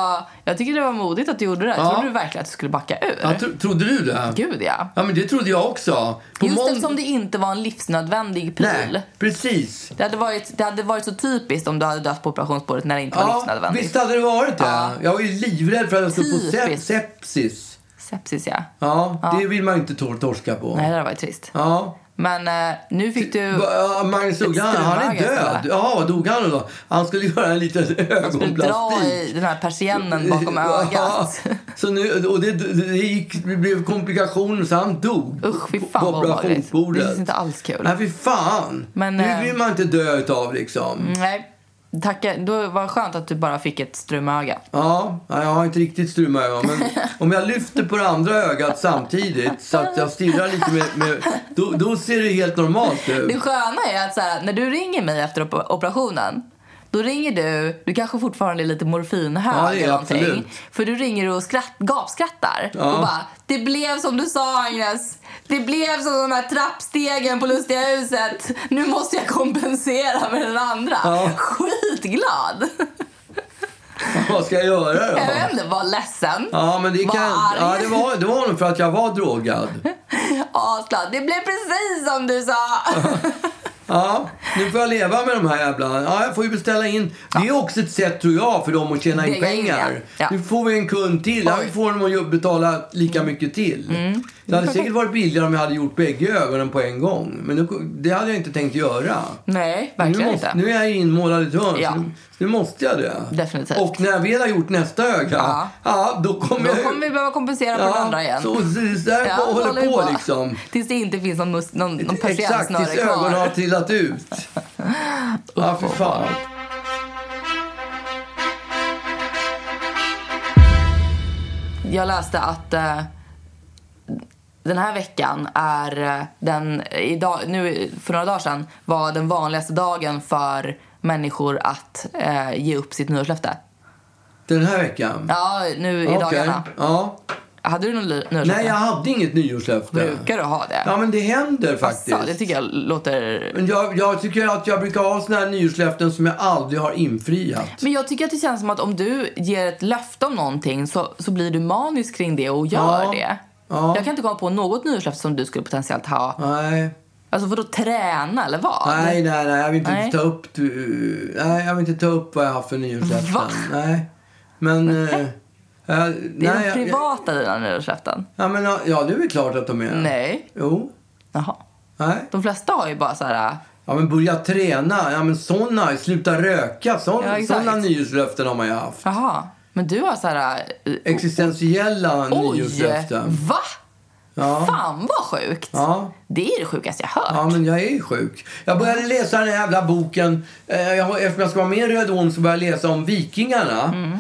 [SPEAKER 2] jag tycker det var modigt att du gjorde det.
[SPEAKER 1] Ja.
[SPEAKER 2] Trodde du verkligen att du skulle backa ur?
[SPEAKER 1] Ja, tro, trodde du det?
[SPEAKER 2] Gud ja.
[SPEAKER 1] Ja, men det trodde jag också. På
[SPEAKER 2] Just
[SPEAKER 1] månd-
[SPEAKER 2] eftersom det inte var en livsnödvändig pryl.
[SPEAKER 1] Nej, precis.
[SPEAKER 2] Det hade, varit, det hade varit så typiskt om du hade dött på operationsbordet när det inte var
[SPEAKER 1] Ja,
[SPEAKER 2] livsnödvändigt.
[SPEAKER 1] visst hade det varit det?
[SPEAKER 2] Ja.
[SPEAKER 1] Jag var ju livrädd för att jag skulle få sep-
[SPEAKER 2] Typiskt.
[SPEAKER 1] sepsis.
[SPEAKER 2] Sepsis ja.
[SPEAKER 1] Ja, det vill man ju inte tor- torska på.
[SPEAKER 2] Nej, det hade varit trist.
[SPEAKER 1] Ja.
[SPEAKER 2] Men eh, nu fick du...
[SPEAKER 1] Va- ja, Magnus Uggla, han, han är
[SPEAKER 2] Strömhagen,
[SPEAKER 1] död.
[SPEAKER 2] så.
[SPEAKER 1] Ja, vad dog han då? Han skulle göra en liten
[SPEAKER 2] Du dra
[SPEAKER 1] ögonplastik.
[SPEAKER 2] i den här persiennen bakom
[SPEAKER 1] Ja,
[SPEAKER 2] ögat.
[SPEAKER 1] Så nu, och det, det, gick, det blev komplikationer så han dog.
[SPEAKER 2] Usch, fy fan
[SPEAKER 1] på
[SPEAKER 2] vad obehagligt.
[SPEAKER 1] operationsbordet.
[SPEAKER 2] Det känns inte alls kul.
[SPEAKER 1] Nej, fy fan.
[SPEAKER 2] Men,
[SPEAKER 1] det
[SPEAKER 2] eh,
[SPEAKER 1] vill man inte dö utav liksom.
[SPEAKER 2] Nej, Tacka, då var det skönt att du bara fick ett strumöga.
[SPEAKER 1] Ja, nej, jag har inte riktigt struma ögon. Men om jag lyfter på det andra ögat samtidigt så att jag stirrar lite med... med då, då ser det helt normalt ut.
[SPEAKER 2] Det sköna är att så här, när du ringer mig efter op- operationen då ringer du, du kanske fortfarande är lite morfinhög
[SPEAKER 1] Ja, det är
[SPEAKER 2] eller någonting.
[SPEAKER 1] absolut.
[SPEAKER 2] För du ringer och skratt, gapskrattar och bara “Det blev som du sa Agnes, det blev som de här trappstegen på Lustiga huset, nu måste jag kompensera med den andra”.
[SPEAKER 1] Ja.
[SPEAKER 2] Skitglad!
[SPEAKER 1] Vad ska jag göra då?
[SPEAKER 2] Jag vet inte, var ledsen,
[SPEAKER 1] Ja, men det,
[SPEAKER 2] var
[SPEAKER 1] kan,
[SPEAKER 2] arg.
[SPEAKER 1] ja, det, var, det var nog för att jag var drogad.
[SPEAKER 2] Asglad. Det blev precis som du sa!
[SPEAKER 1] Ja, nu får jag leva med de här jävla... Ja, jag får ju beställa in. Det är också ett sätt, tror jag, för dem att tjäna in
[SPEAKER 2] Det är ju det.
[SPEAKER 1] pengar.
[SPEAKER 2] Ja.
[SPEAKER 1] Nu får vi en kund till. Ja, vi
[SPEAKER 2] Oj. Mm.
[SPEAKER 1] får dem att ju- betala lika mycket till. Det hade säkert varit billigare om jag hade gjort bägge ögonen på en gång. Men nu, det hade jag inte tänkt göra.
[SPEAKER 2] Nej,
[SPEAKER 1] Nu,
[SPEAKER 2] verkligen
[SPEAKER 1] måste,
[SPEAKER 2] inte.
[SPEAKER 1] nu är jag inmålad i ett hörn,
[SPEAKER 2] Ja.
[SPEAKER 1] så nu, så nu måste jag det.
[SPEAKER 2] Definitivt.
[SPEAKER 1] Och när jag väl har gjort nästa öga, ja.
[SPEAKER 2] Ja.
[SPEAKER 1] då kommer
[SPEAKER 2] Då
[SPEAKER 1] jag...
[SPEAKER 2] kommer vi behöva kompensera på den andra igen.
[SPEAKER 1] Så, så, så där
[SPEAKER 2] Ja, då
[SPEAKER 1] håller
[SPEAKER 2] håller vi
[SPEAKER 1] på
[SPEAKER 2] på.
[SPEAKER 1] liksom.
[SPEAKER 2] Tills det inte finns någon, mus- någon, någon
[SPEAKER 1] Exakt,
[SPEAKER 2] persiennsnöre
[SPEAKER 1] tills
[SPEAKER 2] kvar.
[SPEAKER 1] ögonen har trillat ut. Ja, för fan.
[SPEAKER 2] Jag läste att eh, den här veckan är eh, den, idag, nu för några dagar sedan, var den vanligaste dagen för människor att eh, ge upp sitt nyårslöfte.
[SPEAKER 1] Den här veckan?
[SPEAKER 2] Ja, nu i
[SPEAKER 1] Okej.
[SPEAKER 2] dagarna.
[SPEAKER 1] Ja.
[SPEAKER 2] Hade du något ly- nyårslöfte?
[SPEAKER 1] Nej, jag hade inget nyårslöfte.
[SPEAKER 2] Brukar du ha det?
[SPEAKER 1] Ja, men det händer faktiskt.
[SPEAKER 2] Asså, det tycker jag låter...
[SPEAKER 1] Men jag, jag tycker att jag brukar ha såna här nyårslöften som jag aldrig har infriat.
[SPEAKER 2] Men jag tycker att det känns som att om du ger ett löfte om någonting så, så blir du manisk kring det och gör
[SPEAKER 1] Ja.
[SPEAKER 2] det.
[SPEAKER 1] Ja.
[SPEAKER 2] Jag kan inte komma på något nyårslöfte som du skulle potentiellt ha.
[SPEAKER 1] Nej.
[SPEAKER 2] Alltså för då träna eller vad?
[SPEAKER 1] Nej, nej, nej. Jag vill inte
[SPEAKER 2] Nej.
[SPEAKER 1] ta upp... du- Nej, jag vill inte ta upp vad jag har haft för nyårslöften.
[SPEAKER 2] Va?
[SPEAKER 1] Nej. Men... eh, jag-
[SPEAKER 2] Det är
[SPEAKER 1] nej,
[SPEAKER 2] de
[SPEAKER 1] jag-
[SPEAKER 2] privata dina nyårslöften.
[SPEAKER 1] Ja, men, ja, det är väl klart att de är.
[SPEAKER 2] Nej.
[SPEAKER 1] Jo.
[SPEAKER 2] Jaha.
[SPEAKER 1] Nej.
[SPEAKER 2] De flesta har ju bara så här...
[SPEAKER 1] Ja, men börja träna. Ja, men såna. Sluta röka.
[SPEAKER 2] Ja,
[SPEAKER 1] Såna,
[SPEAKER 2] exakt.
[SPEAKER 1] såna nyårslöften har man ju haft.
[SPEAKER 2] Jaha. Men du har så här... eh,
[SPEAKER 1] Existentiella
[SPEAKER 2] Oj!
[SPEAKER 1] nyårslöften.
[SPEAKER 2] Va?
[SPEAKER 1] Ja.
[SPEAKER 2] Fan vad sjukt!
[SPEAKER 1] Ja.
[SPEAKER 2] Det är det sjukaste jag hört.
[SPEAKER 1] Ja, men jag är sjuk. Jag började läsa den här jävla boken. Eh, jag, eftersom jag ska vara med i Röd Orm så började jag läsa om vikingarna.
[SPEAKER 2] Mm.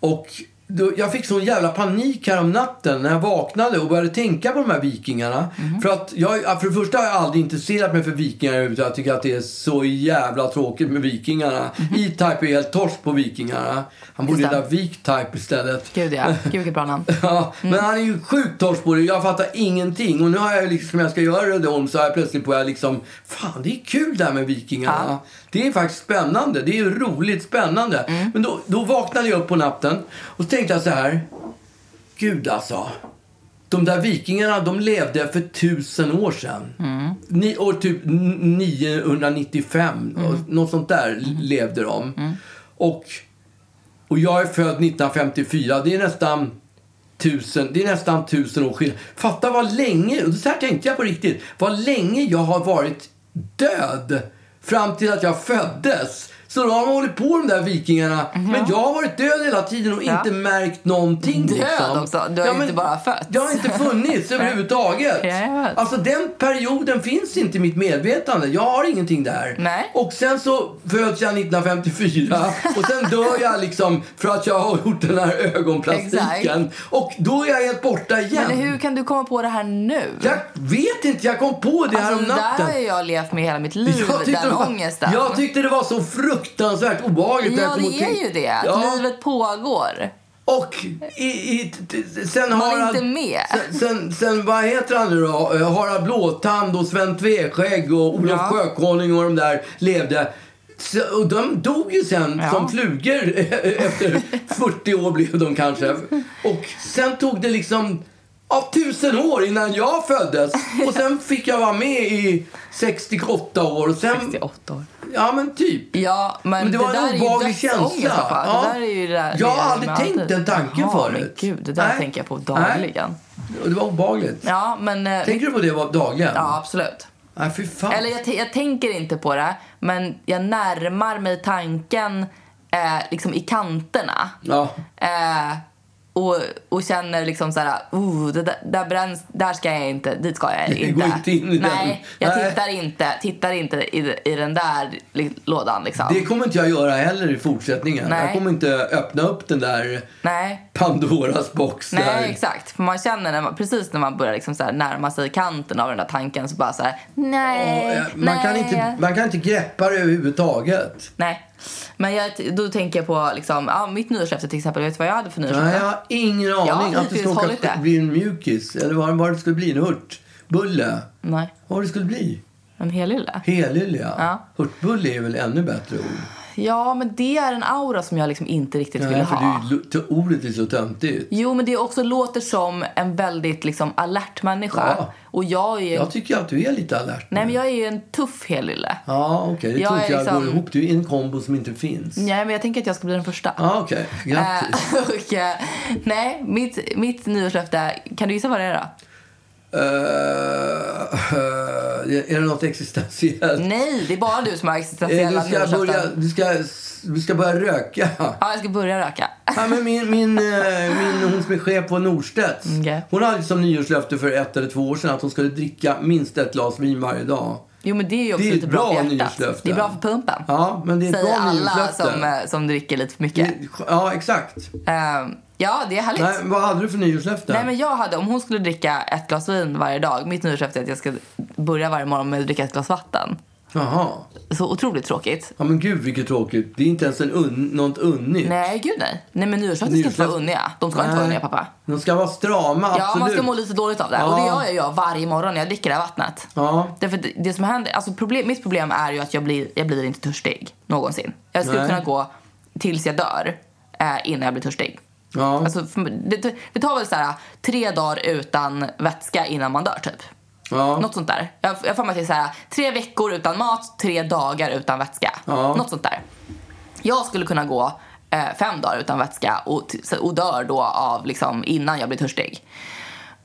[SPEAKER 1] Och då, jag fick sån jävla panik här om natten när jag vaknade och började tänka på de här vikingarna.
[SPEAKER 2] Mm.
[SPEAKER 1] För att jag, för det första har jag aldrig intresserat mig för vikingar utan jag tycker att det är så jävla tråkigt med vikingarna. E-Type är helt torsk på vikingarna. Han borde
[SPEAKER 2] Mm. Just det.
[SPEAKER 1] heta Vik-Type istället.
[SPEAKER 2] Gud ja. Gud vilket bra namn.
[SPEAKER 1] Ja, Men han är ju sjukt torsk på det. Jag fattar ingenting. Och nu har jag liksom, jag ska göra Rödeholm så har jag plötsligt på jag liksom, fan det är kul det här med vikingarna.
[SPEAKER 2] Ja.
[SPEAKER 1] Det är faktiskt spännande. Det är ju roligt spännande. Men då, då vaknade jag upp på natten och så tänkte jag så här, gud alltså. De där vikingarna, de levde för tusen år sedan.
[SPEAKER 2] Mm.
[SPEAKER 1] Ni, år typ n- 995,
[SPEAKER 2] Mm.
[SPEAKER 1] och något sånt där levde de. Och, och jag är född 1954, det är nästan tusen, det är nästan tusen år skillnad. Fatta vad länge, och så här tänkte jag på riktigt, vad länge jag har varit död fram till att jag föddes. Så då har de hållit på de där vikingarna. Men jag har varit död hela tiden och
[SPEAKER 2] Mm-hmm. Ja.
[SPEAKER 1] inte märkt någonting.
[SPEAKER 2] Död
[SPEAKER 1] liksom.
[SPEAKER 2] också? Du har ju inte bara fötts.
[SPEAKER 1] Jag har inte funnits överhuvudtaget.
[SPEAKER 2] Ja, jag vet.
[SPEAKER 1] Alltså den perioden finns inte i mitt medvetande. Jag har ingenting där.
[SPEAKER 2] Nej.
[SPEAKER 1] Och sen så föds jag 1954 och sen dör jag liksom för att jag har gjort den här ögonplastiken. Och då är jag helt borta igen.
[SPEAKER 2] Men hur kan du komma på det här nu?
[SPEAKER 1] Jag vet inte, jag kom på det här om
[SPEAKER 2] Alltså, det där
[SPEAKER 1] natten.
[SPEAKER 2] har ju jag levt med hela mitt liv,
[SPEAKER 1] det
[SPEAKER 2] den
[SPEAKER 1] var,
[SPEAKER 2] ångesten.
[SPEAKER 1] jag tyckte det var så fruktansvärt obehagligt. när jag
[SPEAKER 2] ja,
[SPEAKER 1] kom och
[SPEAKER 2] det är
[SPEAKER 1] tänkte-
[SPEAKER 2] ju det. Att
[SPEAKER 1] Ja.
[SPEAKER 2] Livet pågår.
[SPEAKER 1] Och i, i, t- t- sen
[SPEAKER 2] Man är
[SPEAKER 1] Harald...
[SPEAKER 2] inte med.
[SPEAKER 1] Sen, sen, sen, vad heter han nu då? Eh, Harald Blåtand och Sven Tveskägg och Olof
[SPEAKER 2] Ja.
[SPEAKER 1] Sjökonung och de där levde. Så, och de dog ju sen
[SPEAKER 2] Ja.
[SPEAKER 1] som flugor efter 40 år blev de kanske. Och sen tog det liksom av tusen år innan jag föddes. Och sen fick jag vara med i 68 år. Och sen,
[SPEAKER 2] 68 år.
[SPEAKER 1] ja men typ.
[SPEAKER 2] Ja, men,
[SPEAKER 1] Men det var en
[SPEAKER 2] där är ju
[SPEAKER 1] obehaglig
[SPEAKER 2] dödsångest.
[SPEAKER 1] känsla.
[SPEAKER 2] pappa.
[SPEAKER 1] Ja.
[SPEAKER 2] Det där är ju det där,
[SPEAKER 1] Jag har
[SPEAKER 2] det
[SPEAKER 1] aldrig
[SPEAKER 2] är med
[SPEAKER 1] tänkt
[SPEAKER 2] allt.
[SPEAKER 1] den tanken
[SPEAKER 2] Jaha,
[SPEAKER 1] förut.
[SPEAKER 2] Men gud, det där
[SPEAKER 1] Nej.
[SPEAKER 2] tänker jag på
[SPEAKER 1] Nej.
[SPEAKER 2] dagligen.
[SPEAKER 1] Och det var obehagligt.
[SPEAKER 2] Ja, men... eh,
[SPEAKER 1] Tänker du på det var- dagligen?
[SPEAKER 2] Ja, absolut.
[SPEAKER 1] Nej, fy fan.
[SPEAKER 2] Eller jag, t- jag tänker inte på det, men jag närmar mig tanken eh, liksom i kanterna.
[SPEAKER 1] Ja.
[SPEAKER 2] Eh, och, och känner liksom så här, oh, det där, där bränns, där ska jag inte, dit ska jag inte.
[SPEAKER 1] går inte in i den.
[SPEAKER 2] Nej, jag
[SPEAKER 1] Nej.
[SPEAKER 2] tittar inte, tittar inte i, i den där li- lådan liksom.
[SPEAKER 1] Det kommer inte jag göra heller i fortsättningen.
[SPEAKER 2] Nej.
[SPEAKER 1] Jag kommer inte öppna upp den där
[SPEAKER 2] Nej.
[SPEAKER 1] Pandoras box
[SPEAKER 2] Nej,
[SPEAKER 1] där.
[SPEAKER 2] exakt. För man känner när man, precis när man börjar liksom så här närma sig kanten av den där tanken så bara så här, nej,
[SPEAKER 1] Och, eh, man,
[SPEAKER 2] nej.
[SPEAKER 1] kan inte, man kan inte greppa det överhuvudtaget.
[SPEAKER 2] Nej. Men jag, då tänker jag på liksom, ja, mitt nyårslöfte till exempel. Vet du vad jag hade för nyårslöfte?
[SPEAKER 1] Nej, jag har ingen aning.
[SPEAKER 2] Ja,
[SPEAKER 1] att det skulle
[SPEAKER 2] hittills
[SPEAKER 1] åka-
[SPEAKER 2] hållit det.
[SPEAKER 1] bli en mjukis. Eller vad, vad det skulle bli. En hurtbulle.
[SPEAKER 2] Nej.
[SPEAKER 1] Vad det skulle bli?
[SPEAKER 2] En helylle?
[SPEAKER 1] Helylle,
[SPEAKER 2] Ja.
[SPEAKER 1] Hurtbulle är väl ännu bättre ord?
[SPEAKER 2] Ja, men det är en aura som jag liksom inte riktigt ville
[SPEAKER 1] Nej, för
[SPEAKER 2] ha.
[SPEAKER 1] det är ju, lo- ordet är så töntigt.
[SPEAKER 2] Jo, men det också låter som en väldigt liksom alert människa.
[SPEAKER 1] Ja.
[SPEAKER 2] Och jag är ju...
[SPEAKER 1] Jag tycker att du är lite alert. nu.
[SPEAKER 2] Nej, men jag är ju en tuff helylle.
[SPEAKER 1] Ja, okej. Det
[SPEAKER 2] Jag
[SPEAKER 1] tror
[SPEAKER 2] är
[SPEAKER 1] inte jag
[SPEAKER 2] liksom-
[SPEAKER 1] går ihop. Du är en kombo som inte finns.
[SPEAKER 2] Nej, men jag tänker att jag ska bli den första.
[SPEAKER 1] Ja, okej. Grattis.
[SPEAKER 2] Eh, och, eh, nej, mitt, mitt nyårslöfte... Kan du gissa vad det är då?
[SPEAKER 1] Eh, eh, är det något existentiellt?
[SPEAKER 2] Nej, det är bara du som har
[SPEAKER 1] Eh,
[SPEAKER 2] existentiella
[SPEAKER 1] Du ska,
[SPEAKER 2] nyårslöften.
[SPEAKER 1] börja, du, ska, du ska börja röka.
[SPEAKER 2] Ja, jag ska börja röka.
[SPEAKER 1] Ja, men min, min, eh, min, hon som är chef på Norstedts.
[SPEAKER 2] Mm, Okej.
[SPEAKER 1] Hon hade som nyårslöfte för ett eller två år sedan att hon skulle dricka minst ett glas vin varje dag.
[SPEAKER 2] Jo, men det är ju också
[SPEAKER 1] Det är
[SPEAKER 2] lite
[SPEAKER 1] ett
[SPEAKER 2] bra,
[SPEAKER 1] bra
[SPEAKER 2] för hjärtat.
[SPEAKER 1] nyårslöfte.
[SPEAKER 2] Det är bra för pumpen.
[SPEAKER 1] Ja, men det är ett
[SPEAKER 2] Säger
[SPEAKER 1] bra
[SPEAKER 2] alla
[SPEAKER 1] nyårslöfte.
[SPEAKER 2] som, eh, som dricker lite för mycket.
[SPEAKER 1] Det- Ja, exakt.
[SPEAKER 2] Eh, ja, det är härligt.
[SPEAKER 1] Nej,
[SPEAKER 2] Nej,
[SPEAKER 1] vad hade du för nyårslöfte?
[SPEAKER 2] men jag hade, om hon skulle dricka ett glas vin varje dag, mitt nyårslöfte är att jag ska börja varje morgon med att dricka ett glas vatten.
[SPEAKER 1] Jaha.
[SPEAKER 2] Så otroligt tråkigt.
[SPEAKER 1] Ja, men gud vilket tråkigt. Det är inte ens en un, något unnigt.
[SPEAKER 2] Nej, gud nej. Nej, men nyårslöften ska inte
[SPEAKER 1] Nyårslöften-
[SPEAKER 2] vara unniga. De ska inte vara
[SPEAKER 1] Nej.
[SPEAKER 2] unniga, pappa.
[SPEAKER 1] De ska vara strama, absolut.
[SPEAKER 2] Ja, man ska må lite dåligt av det. Och det
[SPEAKER 1] Ja.
[SPEAKER 2] gör jag ju varje morgon när jag dricker det här vattnet.
[SPEAKER 1] Ja.
[SPEAKER 2] Därför att det, det som händer, alltså problem, mitt problem är ju att jag blir, jag blir inte törstig någonsin. Jag skulle
[SPEAKER 1] Nej.
[SPEAKER 2] kunna gå tills jag dör eh, innan jag blir törstig.
[SPEAKER 1] Ja.
[SPEAKER 2] Alltså, för- det, det tar väl så här, tre dagar utan vätska innan man dör typ.
[SPEAKER 1] ja.
[SPEAKER 2] Något sånt där. Jag jag har för mig att det är så här, tre veckor utan mat, tre dagar utan vätska.
[SPEAKER 1] Ja.
[SPEAKER 2] Något sånt där. Jag skulle kunna gå eh, fem dagar utan vätska och, t- så- och dör då av liksom, innan jag blir törstig.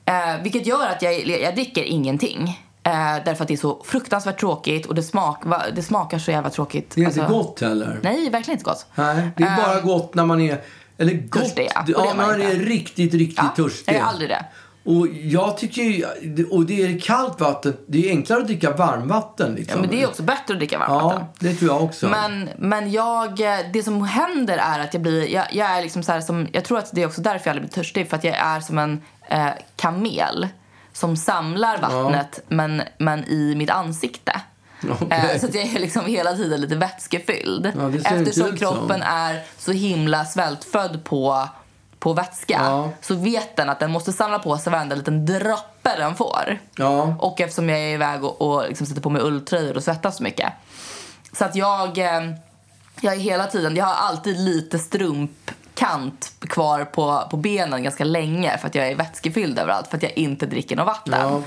[SPEAKER 2] Eh, vilket gör att jag, jag dricker ingenting. Eh, därför att det är så fruktansvärt tråkigt och det, smak, va, det smakar så jävla tråkigt.
[SPEAKER 1] Det är inte gott heller.
[SPEAKER 2] Alltså- Nej, verkligen inte gott.
[SPEAKER 1] Nej, det är bara gott när man är... Eller gott.
[SPEAKER 2] Törstig, ja.
[SPEAKER 1] ja.
[SPEAKER 2] Och det är
[SPEAKER 1] när
[SPEAKER 2] man
[SPEAKER 1] man är
[SPEAKER 2] inte.
[SPEAKER 1] riktigt, riktigt
[SPEAKER 2] Ja,
[SPEAKER 1] törstig.
[SPEAKER 2] jag är aldrig det.
[SPEAKER 1] Och jag tycker ju... Och det är kallt vatten. Det är enklare att dricka varmvatten liksom.
[SPEAKER 2] Men det är också bättre att dricka varmt vatten.
[SPEAKER 1] Ja, det tror jag också.
[SPEAKER 2] Men, men jag, eh, det som händer är att jag blir, jag, jag är liksom så här som, jag tror att det är också därför jag aldrig blir törstig. För att jag är som en eh, kamel som samlar vattnet men, men i mitt ansikte.
[SPEAKER 1] Okej.
[SPEAKER 2] Eh, så att jag är liksom hela tiden lite vätskefylld.
[SPEAKER 1] Ja, det ser inte
[SPEAKER 2] Eftersom
[SPEAKER 1] ut som.
[SPEAKER 2] kroppen är så himla svältfödd på, på vätska
[SPEAKER 1] Ja.
[SPEAKER 2] så vet den att den måste samla på sig varenda liten droppe den får.
[SPEAKER 1] Ja.
[SPEAKER 2] Och eftersom jag är iväg och, och liksom sätter på mig ulltröjor och svettas så mycket. Så att jag, eh, jag är hela tiden, jag har alltid lite strumpkant kvar på, på benen ganska länge för att jag är vätskefylld överallt för att jag inte dricker något vatten.
[SPEAKER 1] Ja.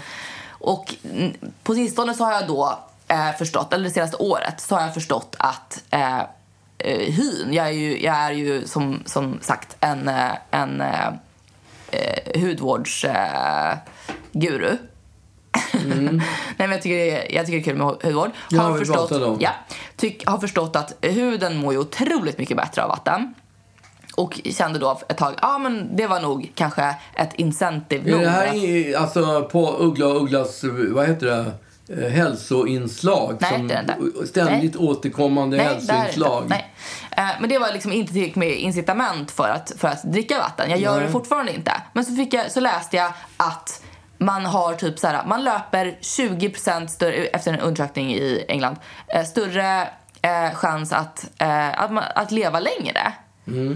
[SPEAKER 2] Och mm, på sistone så har jag då eh, förstått, eller det senaste året, så har jag förstått att eh, eh, hyn, jag är ju, jag är ju som, som sagt en, eh, en eh, eh, hudvårdsguru. Eh, guru. Nej, men jag tycker, det är, jag tycker det är kul med hudvård.
[SPEAKER 1] Mm. Ja, vi pratade om.
[SPEAKER 2] ja, tyck, har förstått att huden mår ju otroligt mycket bättre av vatten. Och kände då ett tag, ja ah, men det var nog kanske ett incentive
[SPEAKER 1] Är
[SPEAKER 2] nog
[SPEAKER 1] det här
[SPEAKER 2] att-
[SPEAKER 1] i- alltså på Uggla och Ugglas, vad heter det? Eh, Hälsoinslag.
[SPEAKER 2] Nej,
[SPEAKER 1] som
[SPEAKER 2] det är det inte.
[SPEAKER 1] Ständigt återkommande
[SPEAKER 2] där är alltså det
[SPEAKER 1] hälsoinslag.
[SPEAKER 2] inte. Nej. Eh, Men det var liksom inte tillräckligt med incitament för att, för att dricka vatten. Jag gör det fortfarande inte. Men så, fick jag, så läste jag att man har typ så här, man löper 20% större, efter en undersökning i England, eh, större eh, chans att, eh, att, man, att leva längre.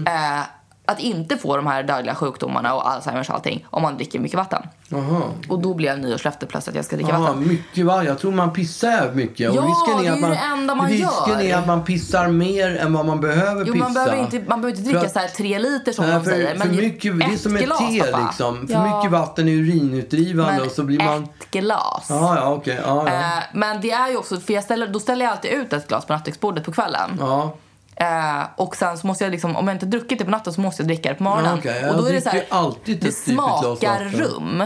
[SPEAKER 2] Eh, att inte få de här dödliga sjukdomarna och Alzheimers och allting om man dricker mycket vatten.
[SPEAKER 1] Jaha.
[SPEAKER 2] Och då blev nyårslöftet plötsligt att jag ska dricka
[SPEAKER 1] Ja,
[SPEAKER 2] vatten.
[SPEAKER 1] mycket va? Jag tror man pissar jävligt mycket.
[SPEAKER 2] Ja,
[SPEAKER 1] och risken
[SPEAKER 2] det
[SPEAKER 1] är
[SPEAKER 2] är
[SPEAKER 1] att
[SPEAKER 2] ju
[SPEAKER 1] man,
[SPEAKER 2] det enda man
[SPEAKER 1] Risken
[SPEAKER 2] gör.
[SPEAKER 1] är att man pissar mer än vad man behöver
[SPEAKER 2] Jo,
[SPEAKER 1] pissa.
[SPEAKER 2] man behöver, inte, man behöver inte
[SPEAKER 1] För
[SPEAKER 2] dricka
[SPEAKER 1] att-
[SPEAKER 2] så här tre liter som
[SPEAKER 1] Nej,
[SPEAKER 2] de
[SPEAKER 1] för,
[SPEAKER 2] säger.
[SPEAKER 1] för mycket, det är
[SPEAKER 2] ett
[SPEAKER 1] som ett
[SPEAKER 2] glas,
[SPEAKER 1] te
[SPEAKER 2] pappa.
[SPEAKER 1] liksom. För
[SPEAKER 2] Ja,
[SPEAKER 1] mycket vatten är urinutdrivande
[SPEAKER 2] men
[SPEAKER 1] och så blir man...
[SPEAKER 2] ett glas.
[SPEAKER 1] Ja, ja, okej. Ja, ja.
[SPEAKER 2] Eh, men det är ju också, för jag ställer, då ställer jag alltid ut ett glas på nattduksbordet på kvällen.
[SPEAKER 1] ja.
[SPEAKER 2] Eh, och sen så måste jag liksom, om jag inte druckit det på natten så måste jag dricka det på morgonen.
[SPEAKER 1] Ja, okej.
[SPEAKER 2] och
[SPEAKER 1] Jag
[SPEAKER 2] då är det så här,
[SPEAKER 1] dricker alltid
[SPEAKER 2] det
[SPEAKER 1] ett typ ett glas
[SPEAKER 2] smakar
[SPEAKER 1] vatten.
[SPEAKER 2] rum.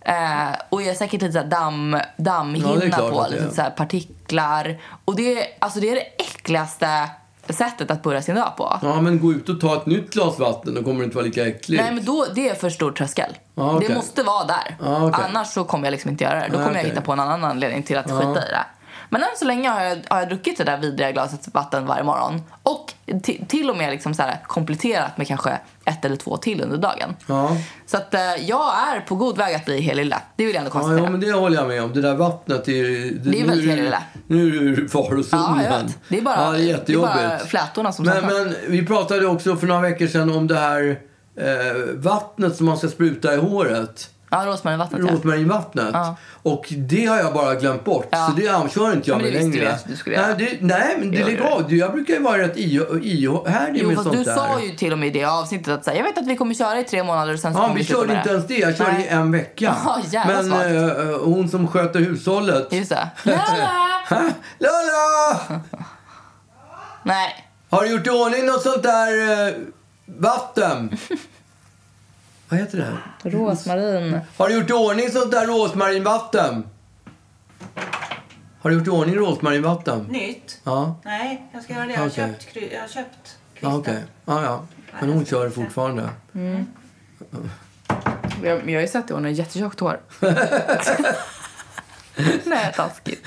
[SPEAKER 2] Eh, och jag är säkert lite så här damm,
[SPEAKER 1] Ja, det är
[SPEAKER 2] dammhinna
[SPEAKER 1] klart
[SPEAKER 2] på,
[SPEAKER 1] att det är.
[SPEAKER 2] lite så här partiklar. Och det, är- alltså det är det äckligaste sättet att börja sin dag på.
[SPEAKER 1] Ja, men gå ut och ta ett nytt glas vatten, då kommer det inte vara lika äckligt.
[SPEAKER 2] Nej, men då, det är för stor tröskel.
[SPEAKER 1] Ja, okej.
[SPEAKER 2] Det måste vara där.
[SPEAKER 1] Ja, okej.
[SPEAKER 2] Annars så kommer jag liksom inte göra det. Då
[SPEAKER 1] Ja,
[SPEAKER 2] kommer jag
[SPEAKER 1] okej.
[SPEAKER 2] hitta på en annan anledning till att skita i det. Men än så länge har jag, har jag druckit det där vidriga glaset vatten varje morgon. Och ti- till och med liksom så här kompletterat med kanske ett eller två till under dagen.
[SPEAKER 1] Ja,
[SPEAKER 2] Så att eh, jag är på god väg att bli helylla. Det vill jag ändå
[SPEAKER 1] ja,
[SPEAKER 2] konstatera.
[SPEAKER 1] ja men det håller jag med om. Det där vattnet är ju...
[SPEAKER 2] Det är
[SPEAKER 1] nu
[SPEAKER 2] väldigt
[SPEAKER 1] ju-
[SPEAKER 2] illa.
[SPEAKER 1] Nu är det ur farozonen.
[SPEAKER 2] Ja, jag vet. Det är bara-
[SPEAKER 1] ja, det är
[SPEAKER 2] det är
[SPEAKER 1] jättejobbigt.
[SPEAKER 2] bara flätorna som
[SPEAKER 1] men,
[SPEAKER 2] saknas.
[SPEAKER 1] men vi pratade också för några veckor sedan om det här eh, vattnet som man ska spruta i håret.
[SPEAKER 2] Ja, rosmarinvattnet ja.
[SPEAKER 1] Rosmarinvattnet.
[SPEAKER 2] Ja.
[SPEAKER 1] Och det har jag bara glömt bort.
[SPEAKER 2] Ja.
[SPEAKER 1] Så det kör inte jag
[SPEAKER 2] Men
[SPEAKER 1] med
[SPEAKER 2] det visste vi
[SPEAKER 1] längre.
[SPEAKER 2] att du skulle
[SPEAKER 1] nej,
[SPEAKER 2] göra.
[SPEAKER 1] det, nej, men det
[SPEAKER 2] gör
[SPEAKER 1] lägger
[SPEAKER 2] det.
[SPEAKER 1] av. Jag brukar ju vara rätt ihärdig
[SPEAKER 2] Jo,
[SPEAKER 1] med
[SPEAKER 2] fast
[SPEAKER 1] sånt
[SPEAKER 2] du
[SPEAKER 1] där.
[SPEAKER 2] sa ju till och med i det avsnittet att så här, jag vet att vi kommer köra i tre månader och sen så
[SPEAKER 1] Ja,
[SPEAKER 2] kommer
[SPEAKER 1] vi
[SPEAKER 2] sluta
[SPEAKER 1] körde
[SPEAKER 2] med
[SPEAKER 1] inte ens det. Jag körde
[SPEAKER 2] Nej.
[SPEAKER 1] i en vecka.
[SPEAKER 2] Ja, jävla
[SPEAKER 1] Men
[SPEAKER 2] svagt.
[SPEAKER 1] eh, eh, hon som sköter hushållet.
[SPEAKER 2] Just det. Lala!
[SPEAKER 1] Ha? Lola!
[SPEAKER 2] Nej.
[SPEAKER 1] Har du gjort i ordning något sånt där eh, vatten? Vad heter det? här?
[SPEAKER 2] Rosmarin.
[SPEAKER 1] Har du gjort i ordning sånt där rosmarinvatten? Har du gjort i ordning rosmarinvatten?
[SPEAKER 5] Nytt?
[SPEAKER 1] Ja.
[SPEAKER 5] Nej, jag ska göra det. Jag har
[SPEAKER 1] Okej.
[SPEAKER 5] köpt, kry- jag har köpt
[SPEAKER 1] Ja,
[SPEAKER 5] krystan.
[SPEAKER 1] okej. Ja, ja. Men hon kör fortfarande.
[SPEAKER 2] Jag, jag har ju sett det, hon har jättetjockt hår. Nej, taskigt.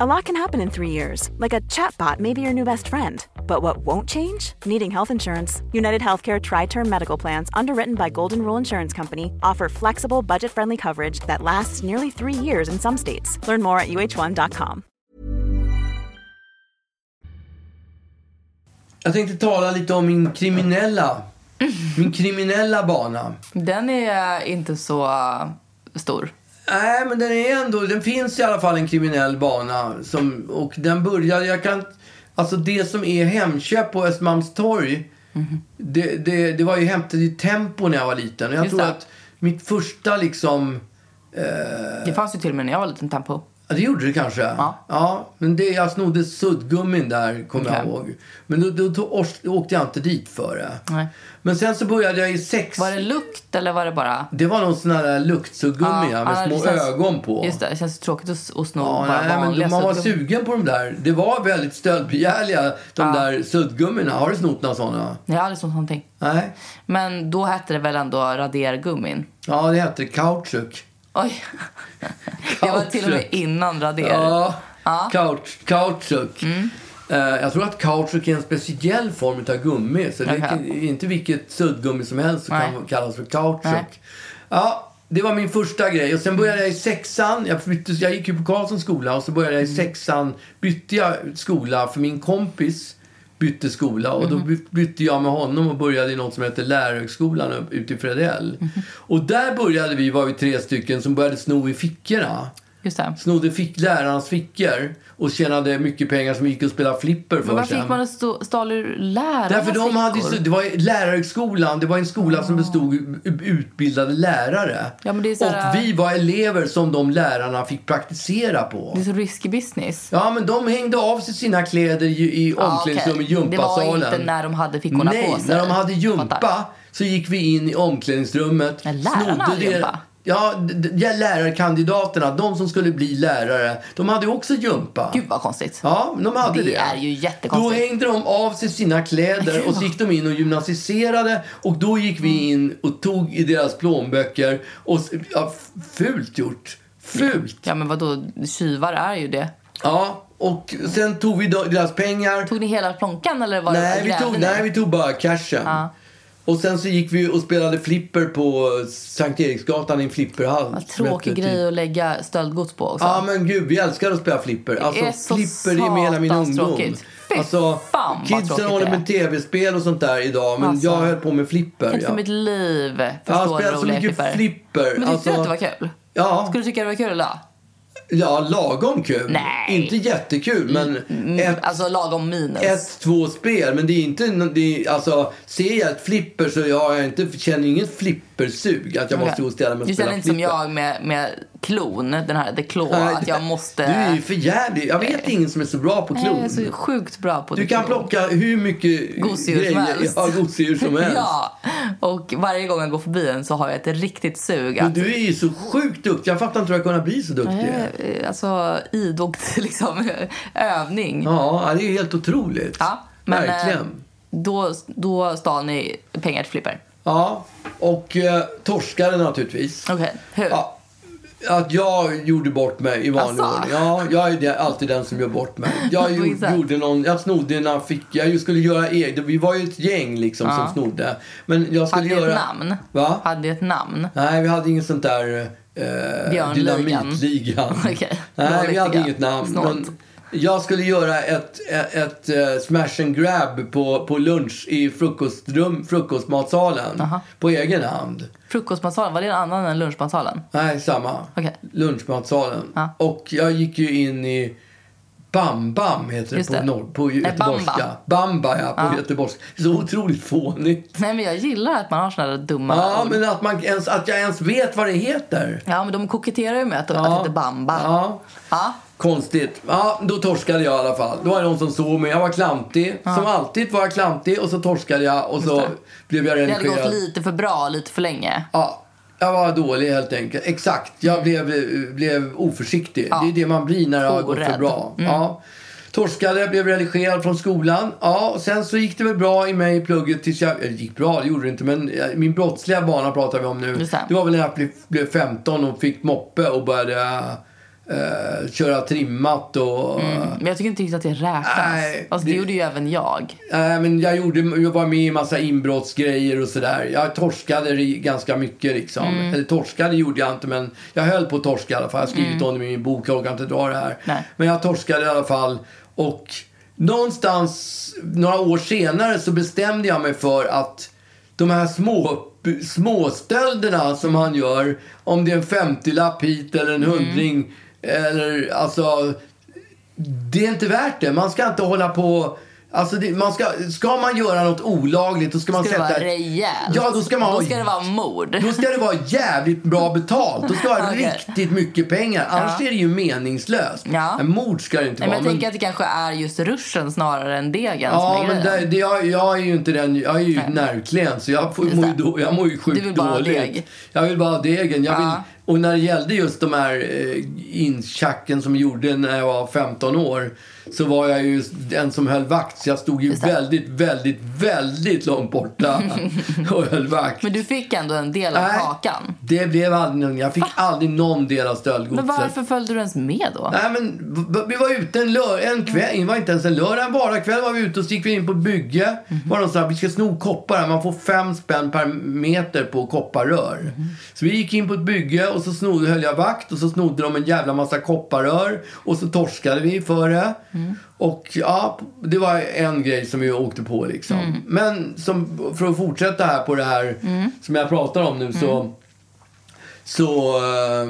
[SPEAKER 6] A lot can happen in three years, like a chatbot may be your new best friend. But what won't change? Needing health insurance. United Healthcare Tri Term Medical Plans, underwritten by Golden Rule Insurance Company, offer flexible, budget friendly coverage that lasts nearly three years in some states. Learn more at uh1.com.
[SPEAKER 1] Jag tänkte tala lite om min kriminella, min kriminella bana.
[SPEAKER 2] Den är eh, inte så eh, stor.
[SPEAKER 1] Nej, men den är ändå, den finns i alla fall en kriminell bana. Som, och den började, jag kan, alltså det som är Hemköp på Östermalmstorg.
[SPEAKER 2] Mhm.
[SPEAKER 1] Det, det, det var ju hämtat i Tempo när jag var liten. Och jag
[SPEAKER 2] Just
[SPEAKER 1] tror
[SPEAKER 2] det.
[SPEAKER 1] att mitt första liksom,
[SPEAKER 2] Det fanns ju till och med när jag var liten tempo.
[SPEAKER 1] ja det gjorde det kanske.
[SPEAKER 2] Ja.
[SPEAKER 1] men det, jag snodde suddgummin där, kommer jag
[SPEAKER 2] Okej.
[SPEAKER 1] ihåg. Men då, då, tog- åkte jag inte dit för det.
[SPEAKER 2] Nej.
[SPEAKER 1] Men sen så började jag i sex...
[SPEAKER 2] Var det lukt eller var det bara...
[SPEAKER 1] Det var någon sån här luktsuggummi ja, med
[SPEAKER 2] det
[SPEAKER 1] små
[SPEAKER 2] känns-
[SPEAKER 1] ögon på.
[SPEAKER 2] Just det, det känns tråkigt att, s- att sno
[SPEAKER 1] Ja,
[SPEAKER 2] bara
[SPEAKER 1] nej,
[SPEAKER 2] vanliga
[SPEAKER 1] men man var
[SPEAKER 2] suddgummin.
[SPEAKER 1] sugen på de där. Det var väldigt stöldbegärliga, de där suddgummina. Har du snott några sådana?
[SPEAKER 2] Nej, jag har aldrig snott någonting.
[SPEAKER 1] Nej.
[SPEAKER 2] Men då hette det väl ändå radergummin?
[SPEAKER 1] Ja, det hette kautschuk.
[SPEAKER 2] Oj. Det var till och med
[SPEAKER 1] Kautschuk.
[SPEAKER 2] innan rader.
[SPEAKER 1] Ja, Couch, kautschuk.
[SPEAKER 2] Mm.
[SPEAKER 1] Eh, jag tror att kautschuk är en speciell form av gummi. Så det är
[SPEAKER 2] Okej.
[SPEAKER 1] inte- inte vilket suddgummi som helst som
[SPEAKER 2] Nej.
[SPEAKER 1] kan kallas för kautschuk.
[SPEAKER 2] Nej.
[SPEAKER 1] Ja, det var min första grej. Och sen började jag i sexan. Jag, bytte, jag gick ju på Karlssons skola och så började jag i
[SPEAKER 2] Mm.
[SPEAKER 1] sexan. Bytte jag skola för min kompis bytte skola och
[SPEAKER 2] Mm-hmm.
[SPEAKER 1] då by- bytte jag med honom och började i något som heter Lärarhögskolan upp- ute i Fredell.
[SPEAKER 2] Mm-hmm.
[SPEAKER 1] Och där började vi, var vi tre stycken som började sno i fickorna
[SPEAKER 2] Just det.
[SPEAKER 1] snodde fick lärarnas fickor och tjänade mycket pengar som gick och spelade flipper
[SPEAKER 2] Men
[SPEAKER 1] för
[SPEAKER 2] varför gick man
[SPEAKER 1] sen.
[SPEAKER 2] och stå- stal ur lärarnas
[SPEAKER 1] Därför de hade ju,
[SPEAKER 2] fickor?
[SPEAKER 1] så- det var ju lärarhögskolan, det var en skola som bestod u- utbildade lärare.
[SPEAKER 2] Ja, men det är så här-
[SPEAKER 1] och vi var elever som de lärarna fick praktisera på.
[SPEAKER 2] Det är så risky business.
[SPEAKER 1] Ja men de hängde av sig sina kläder ju i omklädningsrummet i
[SPEAKER 2] okej. Det var
[SPEAKER 1] gympasalen.
[SPEAKER 2] inte när de hade fickorna
[SPEAKER 1] Nej,
[SPEAKER 2] på sig.
[SPEAKER 1] när de hade
[SPEAKER 2] Fattar.
[SPEAKER 1] gympa så gick vi in i omklädningsrummet.
[SPEAKER 2] Men lärarna
[SPEAKER 1] snodde
[SPEAKER 2] hade
[SPEAKER 1] det-
[SPEAKER 2] gympa?
[SPEAKER 1] Ja, d- d- ja, lärarkandidaterna, de som skulle bli lärare, de hade också gympa.
[SPEAKER 2] Gud vad konstigt.
[SPEAKER 1] Ja, men de hade
[SPEAKER 2] Det
[SPEAKER 1] det.
[SPEAKER 2] är ju jättekonstigt.
[SPEAKER 1] Då hängde de av sig sina kläder och så gick de in och gymnasiserade och då gick vi
[SPEAKER 2] Mm.
[SPEAKER 1] in och tog i deras plånböcker och s- ja, f- fult gjort. Fult!
[SPEAKER 2] Ja men vadå, tjuvar är ju det.
[SPEAKER 1] Ja, och sen tog vi då- deras pengar.
[SPEAKER 2] Tog ni hela plånkan eller var
[SPEAKER 1] nej,
[SPEAKER 2] det
[SPEAKER 1] vi
[SPEAKER 2] grävde
[SPEAKER 1] tog,
[SPEAKER 2] ni?
[SPEAKER 1] nej, vi tog bara cashen.
[SPEAKER 2] Ja.
[SPEAKER 1] Och sen så gick vi och spelade flipper på Sankt Eriksgatan i en flipperhall.
[SPEAKER 2] Vad
[SPEAKER 1] som
[SPEAKER 2] tråkig
[SPEAKER 1] hette typ-
[SPEAKER 2] grej att lägga stöldgods på också.
[SPEAKER 1] Ja men gud, vi älskar att spela flipper. Alltså flipper är med hela min
[SPEAKER 2] satans
[SPEAKER 1] ungdom.
[SPEAKER 2] tråkigt. Fy Fy
[SPEAKER 1] Alltså,
[SPEAKER 2] fan, vad tråkigt
[SPEAKER 1] kidsen
[SPEAKER 2] det
[SPEAKER 1] håller
[SPEAKER 2] är.
[SPEAKER 1] med tv-spel och sånt där idag. Men
[SPEAKER 2] Alltså.
[SPEAKER 1] jag höll på med flipper.
[SPEAKER 2] Tänk för
[SPEAKER 1] Ja.
[SPEAKER 2] mitt liv.
[SPEAKER 1] Jag
[SPEAKER 2] Förstår du
[SPEAKER 1] spelar så
[SPEAKER 2] roliga
[SPEAKER 1] mycket
[SPEAKER 2] flipper.
[SPEAKER 1] flipper.
[SPEAKER 2] Men tyckte
[SPEAKER 1] Alltså,
[SPEAKER 2] du att det var kul?
[SPEAKER 1] Ja,
[SPEAKER 2] Skulle du tycka det var kul eller?
[SPEAKER 1] ja, lagom kul.
[SPEAKER 2] Nej.
[SPEAKER 1] Inte jättekul, men ett,
[SPEAKER 2] Alltså lagom minus.
[SPEAKER 1] ett, två spel. Men det är inte, nå- det är, alltså, ser jag ett flipper så jag, jag inte, känner inget flippersug. Att jag
[SPEAKER 2] Okej.
[SPEAKER 1] måste gå och ställa mig och
[SPEAKER 2] Du
[SPEAKER 1] spela
[SPEAKER 2] känner inte som
[SPEAKER 1] flipper.
[SPEAKER 2] jag med, med klon, den här The Claw,
[SPEAKER 1] Nej,
[SPEAKER 2] att jag måste...
[SPEAKER 1] Du är ju för jävlig. Jag vet ingen som är så bra på
[SPEAKER 2] Nej, alltså, jag
[SPEAKER 1] klon.
[SPEAKER 2] är så sjukt bra på
[SPEAKER 1] Du
[SPEAKER 2] The
[SPEAKER 1] kan
[SPEAKER 2] Claw.
[SPEAKER 1] plocka hur mycket
[SPEAKER 2] Gosedjur som helst.
[SPEAKER 1] Ja, gosedjur som helst.
[SPEAKER 2] Ja, och varje gång jag går förbi den så har jag ett riktigt sug
[SPEAKER 1] Men
[SPEAKER 2] att...
[SPEAKER 1] du är ju så sjukt duktig. Jag fattar inte hur jag kunnat bli så duktig.
[SPEAKER 2] Eh, Alltså idogt liksom, övning.
[SPEAKER 1] Ja, det är helt otroligt.
[SPEAKER 2] Ja, men, eh,
[SPEAKER 1] Verkligen.
[SPEAKER 2] Då, då stal ni pengar till flipper.
[SPEAKER 1] Ja, och eh, torskade naturligtvis.
[SPEAKER 2] Okej, hur?
[SPEAKER 1] Ja, att jag gjorde bort mig i vanlig
[SPEAKER 2] Asså?
[SPEAKER 1] ordning. Ja, jag är det- alltid den som gör bort mig. Jag,
[SPEAKER 2] På
[SPEAKER 1] gjorde,
[SPEAKER 2] exakt.
[SPEAKER 1] gjorde någon, jag snodde när jag fick... Jag skulle göra eget. Vi var ju ett gäng liksom som snodde. Men jag skulle
[SPEAKER 2] Hade ni
[SPEAKER 1] göra...
[SPEAKER 2] ett namn?
[SPEAKER 1] Va?
[SPEAKER 2] Hade ni ett namn?
[SPEAKER 1] Nej, vi hade inget sånt där... Eh,
[SPEAKER 2] Björnligan.
[SPEAKER 1] dynamitligan.
[SPEAKER 2] Okej.
[SPEAKER 1] Nej, vi
[SPEAKER 2] Dåligt
[SPEAKER 1] hade
[SPEAKER 2] tycker jag.
[SPEAKER 1] inget namn.
[SPEAKER 2] Snålt.
[SPEAKER 1] Men jag skulle göra ett, ett, ett eh, smash and grab på, på lunch i frukostrum, frukostmatsalen. På egen hand.
[SPEAKER 2] Frukostmatsalen, var det en annan än lunchmatsalen?
[SPEAKER 1] Nej, samma.
[SPEAKER 2] Okej.
[SPEAKER 1] Lunchmatsalen.
[SPEAKER 2] Ja.
[SPEAKER 1] Och jag gick ju in i Bam Bam heter det
[SPEAKER 2] Just
[SPEAKER 1] på,
[SPEAKER 2] det.
[SPEAKER 1] Norr, på
[SPEAKER 2] Nej,
[SPEAKER 1] göteborgska.
[SPEAKER 2] Bamba.
[SPEAKER 1] Bamba, ja. På göteborgska. Så otroligt fånigt.
[SPEAKER 2] Nej men jag gillar att man har såna där dumma
[SPEAKER 1] Ja,
[SPEAKER 2] ord.
[SPEAKER 1] men att, man ens, att jag ens vet vad det heter.
[SPEAKER 2] Ja men de koketterar ju med att, att det heter Bamba.
[SPEAKER 1] Ja.
[SPEAKER 2] Ja.
[SPEAKER 1] Konstigt. Ja, då torskade jag i alla fall. Då var det någon som såg mig. Jag var klantig. Som alltid var jag klantig och så torskade jag och så
[SPEAKER 2] det.
[SPEAKER 1] blev jag
[SPEAKER 2] Det hade gått
[SPEAKER 1] redigerad.
[SPEAKER 2] lite för bra, lite för länge.
[SPEAKER 1] Ja, jag var dålig helt enkelt. Exakt. Jag blev, eh, blev oförsiktig. Det är det man blir när det har gått för
[SPEAKER 2] Orädd. Mm.
[SPEAKER 1] bra. Ja. Torskade, blev religerad från skolan. Ja, och sen så gick det väl bra i mig i plugget tills jag... Eller gick bra, det gjorde det inte. Men eh, min brottsliga bana pratar vi om nu.
[SPEAKER 2] Just det.
[SPEAKER 1] Det var väl när jag blev, blev 15 och fick moppe och började eh, köra trimmat och...
[SPEAKER 2] Men jag tycker inte riktigt att det räknas.
[SPEAKER 1] Nej,
[SPEAKER 2] alltså det,
[SPEAKER 1] det-
[SPEAKER 2] gjorde ju även jag.
[SPEAKER 1] Nej, men jag, gjorde, jag var med i massa inbrottsgrejer och sådär. Jag torskade ri- ganska mycket liksom. Eller torskade gjorde jag inte, men jag höll på att torska i alla fall. Jag har skrivit om det i min bok, jag orkar inte dra det här.
[SPEAKER 2] Nej.
[SPEAKER 1] Men jag torskade i alla fall. Och någonstans, några år senare, så bestämde jag mig för att de här små småstölderna som han gör, om det är en 50-lapp hit eller en hundring, eller alltså det är inte värt det. Man ska inte hålla på... Alltså det, man ska, ska man göra något olagligt då ska man
[SPEAKER 2] Ska det
[SPEAKER 1] sätta...
[SPEAKER 2] vara rejält?
[SPEAKER 1] Ja, då ska man ha...
[SPEAKER 2] Då ska det vara mord.
[SPEAKER 1] Då ska det vara jävligt bra betalt. Då ska det vara
[SPEAKER 2] Okej.
[SPEAKER 1] riktigt mycket pengar. Annars är det ju meningslöst.
[SPEAKER 2] Ja.
[SPEAKER 1] Men mord ska det inte
[SPEAKER 2] Nej, men
[SPEAKER 1] vara.
[SPEAKER 2] jag tänker att det kanske är just ruschen snarare än degen
[SPEAKER 1] Ja,
[SPEAKER 2] som är
[SPEAKER 1] men
[SPEAKER 2] grejen.
[SPEAKER 1] det, det, jag, jag är ju inte den... Jag är ju
[SPEAKER 2] Nej.
[SPEAKER 1] nervklen, så jag, får,
[SPEAKER 2] Just
[SPEAKER 1] mår, ju
[SPEAKER 2] det.
[SPEAKER 1] då, jag mår ju sjukt
[SPEAKER 2] Du vill bara ha
[SPEAKER 1] dåligt.
[SPEAKER 2] deg.
[SPEAKER 1] Jag vill bara ha degen. Jag vill,
[SPEAKER 2] Ja.
[SPEAKER 1] Och när det gällde just de här eh, inchacken som jag gjorde när jag var 15 år så var jag ju den som höll vakt. Så jag stod ju väldigt, väldigt, väldigt långt borta och höll vakt.
[SPEAKER 2] Men du fick ändå en del av
[SPEAKER 1] Nej,
[SPEAKER 2] kakan.
[SPEAKER 1] Det blev aldrig någon. Jag fick aldrig någon del av stöldgodset.
[SPEAKER 2] Men varför följde du ens med då?
[SPEAKER 1] Nej, men v- vi var ute en, lör- en kväll, det var inte ens en lördag, en vardagskväll var vi ute och så gick vi in på ett bygge. Var de så här, vi ska sno koppar här, man får fem spänn per meter på kopparrör. Så vi gick in på ett bygge och så snodde, höll jag vakt och så snodde de en jävla massa kopparrör och så torskade vi för det. Och ja, det var en grej som vi åkte på liksom. Men som, för att fortsätta här på det här som jag pratar om nu så så, eh,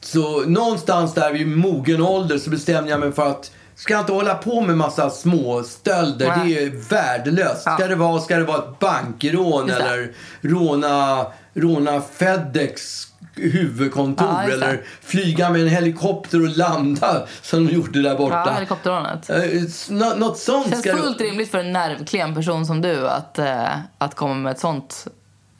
[SPEAKER 1] så någonstans där vid mogen ålder så bestämde jag mig för att ska jag inte hålla på med massa små stölder.
[SPEAKER 2] Nej.
[SPEAKER 1] Det är värdelöst. Ska,
[SPEAKER 2] Ja.
[SPEAKER 1] det vara, ska det vara ett bankrån
[SPEAKER 2] Just det.
[SPEAKER 1] eller råna, råna Fedex huvudkontor
[SPEAKER 2] Ja, just det.
[SPEAKER 1] eller flyga med en helikopter och landa som de gjorde där
[SPEAKER 2] Ja,
[SPEAKER 1] borta.
[SPEAKER 2] helikopterrånet.
[SPEAKER 1] Eh, s- nå- Något sånt
[SPEAKER 2] känns
[SPEAKER 1] ska det-
[SPEAKER 2] fullt rimligt för en nervklen person som du att, eh, att komma med ett sånt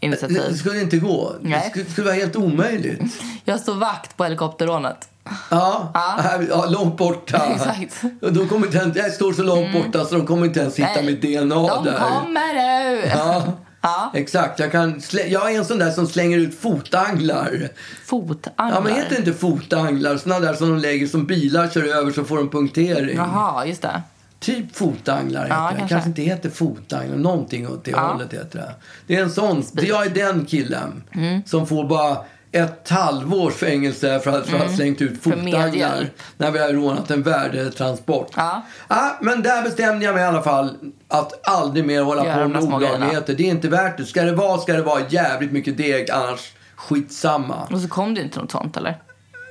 [SPEAKER 1] det
[SPEAKER 2] initiativ.
[SPEAKER 1] skulle inte gå.
[SPEAKER 2] Nej.
[SPEAKER 1] Det skulle, skulle vara helt omöjligt.
[SPEAKER 2] Jag står vakt på helikopterrånet.
[SPEAKER 1] Ja,
[SPEAKER 2] Ja.
[SPEAKER 1] här- ja långt borta.
[SPEAKER 2] Exakt. Mm.
[SPEAKER 1] Och De kommer inte ens, jag står så långt borta så de kommer inte ens hitta mitt DNA
[SPEAKER 2] de
[SPEAKER 1] där.
[SPEAKER 2] kommer nu!
[SPEAKER 1] Ja,
[SPEAKER 2] Ja.
[SPEAKER 1] Exakt, jag, kan slä, jag är en sån där som slänger ut fotanglar. Ja,
[SPEAKER 2] Fotanglar.
[SPEAKER 1] men heter det inte fotanglar? Såna där som de lägger som bilar kör över så får de punktering.
[SPEAKER 2] Jaha, just det.
[SPEAKER 1] Typ fotanglar heter
[SPEAKER 2] Ja,
[SPEAKER 1] det.
[SPEAKER 2] kanske.
[SPEAKER 1] kanske inte heter fotanglar,
[SPEAKER 2] Mm.
[SPEAKER 1] någonting åt det hållet heter det. Det är en sån, jag är den killen som får bara ett halvårs fängelse för att, för
[SPEAKER 2] Mm.
[SPEAKER 1] att ha slängt ut fotanglar
[SPEAKER 2] medhjälp.
[SPEAKER 1] när vi har rånat en värdetransport.
[SPEAKER 2] Ja.
[SPEAKER 1] Ja, men där bestämde jag mig i alla fall att aldrig mer hålla
[SPEAKER 2] Göra
[SPEAKER 1] på
[SPEAKER 2] de
[SPEAKER 1] med
[SPEAKER 2] där små grejerna.
[SPEAKER 1] olagligheter. Det är inte värt det. Ska det vara, ska det vara jävligt mycket deg, annars skitsamma.
[SPEAKER 2] Och så kom det inte något sånt eller?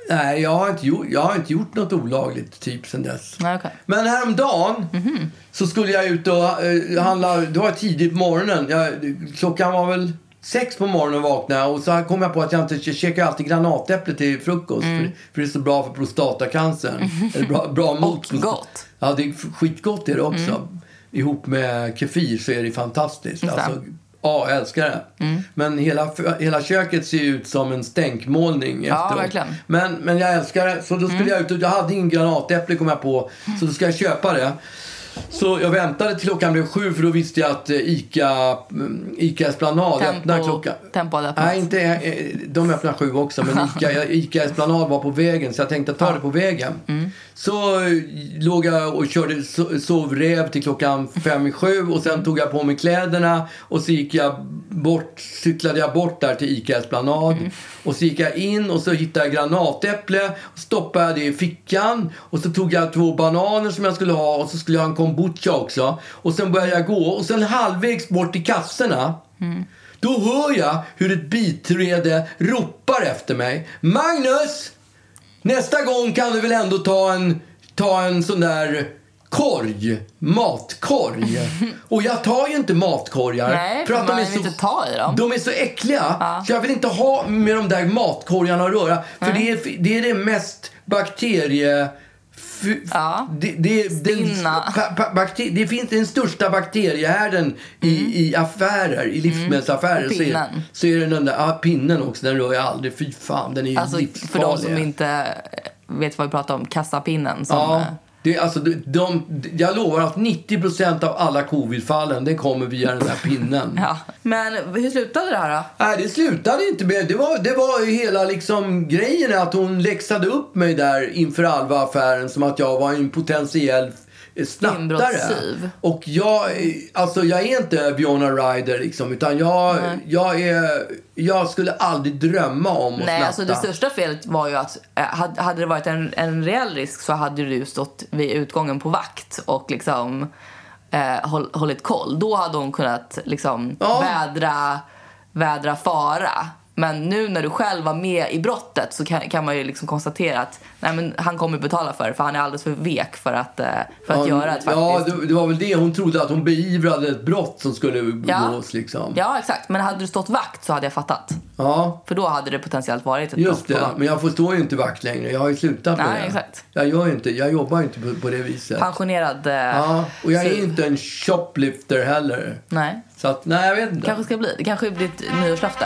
[SPEAKER 1] Nej, jag har inte gjort, jag har inte gjort något olagligt typ sen dess.
[SPEAKER 2] Nej, okej.
[SPEAKER 1] Men häromdagen
[SPEAKER 2] Mhm.
[SPEAKER 1] så skulle jag ut och eh, handla. Det var tidigt på morgonen. Jag, klockan var väl sex på morgonen vaknade jag och så kom jag på att jag inte jag käkar ju alltid granatäpple till frukost. För, för det är så bra för prostatacancern. Eller bra, bra mot.
[SPEAKER 2] Mm. Mhm. Och gott. Mm.
[SPEAKER 1] Ja, det är skitgott är det också. Ihop med kefir så är det fantastiskt.
[SPEAKER 2] Just det. Mm.
[SPEAKER 1] Alltså, ja, jag älskar det. Men hela, hela köket ser ju ut som en stänkmålning
[SPEAKER 2] Ja,
[SPEAKER 1] efteråt.
[SPEAKER 2] verkligen. Mm.
[SPEAKER 1] Men, men jag älskar det. Så då skulle jag ut och jag hade ingen granatäpple kom jag på. Så då ska jag köpa det. Så jag väntade till klockan blev sju för då visste jag att eh, Ica, mm, Ica Esplanad öppnar klockan.
[SPEAKER 2] Tempo hade öppnat.
[SPEAKER 1] Nej, inte, eh, de öppnar sju också, men Ica, Ica Esplanad var på vägen så jag tänkte ta det på vägen. Så eh, låg jag och körde so- sovräv till klockan fem i sju och sen tog jag på mig kläderna och så gick jag bort, cyklade jag bort där till Ica Esplanad och så gick jag in och så hittade jag granatäpple och stoppade jag det i fickan och så tog jag två bananer som jag skulle ha och så skulle jag ha en kombucha också och sen började jag gå och sen halvvägs bort till kassorna då hör jag hur ett biträde ropar efter mig. Magnus! Nästa gång kan du väl ändå ta en, ta en sån där korg, matkorg. Och jag tar ju inte matkorgar.
[SPEAKER 2] Nej, för man vill inte ta i dem.
[SPEAKER 1] De är så äckliga. Så jag vill inte ha med de där matkorgarna att röra. För det, är, det är det mest bakterie... Fy,
[SPEAKER 2] Ja.
[SPEAKER 1] det, det, den,
[SPEAKER 2] Stinna.
[SPEAKER 1] pa- pa- bakter, det finns den största bakteriehärden i, i affärer, i livsmedelsaffärer. Så är,
[SPEAKER 2] Mm. Pinnen.
[SPEAKER 1] så är det den där, ja, pinnen också, den rör jag aldrig. Fy fan, den är ju
[SPEAKER 2] Alltså
[SPEAKER 1] livsfarlig.
[SPEAKER 2] för de som inte vet vad vi pratar om, kassapinnen som...
[SPEAKER 1] Ja,
[SPEAKER 2] eh,
[SPEAKER 1] det, är alltså, de, de, jag lovar att 90 av alla covidfallen det kommer via den där pinnen.
[SPEAKER 2] Ja. Men hur slutade det här då?
[SPEAKER 1] Nej, det slutade inte med... Det var, det var ju hela liksom grejen att hon läxade upp mig där inför halva affären som att jag var en potentiell eh, snattare.
[SPEAKER 2] Inbrottssyv.
[SPEAKER 1] Och jag, eh, alltså jag är inte Björna Ryder liksom, utan jag, jag är... Jag skulle aldrig drömma om att
[SPEAKER 2] Nej,
[SPEAKER 1] snatta.
[SPEAKER 2] alltså det största felet var ju att eh, hade hade det varit en, en reell risk så hade du ju stått vid utgången på vakt och liksom eh, håll, hållit koll. Då hade hon kunnat liksom
[SPEAKER 1] Ja.
[SPEAKER 2] vädra, vädra fara. Men nu när du själv var med i brottet så kan, kan man ju liksom konstatera att nej, men han kommer betala för det för han är alldeles för vek för att, eh, för att
[SPEAKER 1] Ja,
[SPEAKER 2] göra ett faktiskt.
[SPEAKER 1] Mm, Ja, det, det var väl det. Hon trodde att hon beivrade ett brott som skulle begås liksom.
[SPEAKER 2] ja, exakt. Men hade du stått vakt så hade jag fattat.
[SPEAKER 1] ja.
[SPEAKER 2] För då hade det potentiellt varit ett
[SPEAKER 1] Just
[SPEAKER 2] brott på
[SPEAKER 1] det,
[SPEAKER 2] gång.
[SPEAKER 1] men jag förstår ju inte vakt längre. Jag har ju slutat med
[SPEAKER 2] Nej,
[SPEAKER 1] det.
[SPEAKER 2] exakt.
[SPEAKER 1] Jag, gör ju inte, jag jobbar ju inte på, på det viset.
[SPEAKER 2] Pensionerad eh,
[SPEAKER 1] Ja, och jag är
[SPEAKER 2] SUV.
[SPEAKER 1] inte en shoplifter heller.
[SPEAKER 2] Nej.
[SPEAKER 1] Så att, nej jag vet inte.
[SPEAKER 2] kanske ska bli. Det kanske blir ditt nyårslöfte.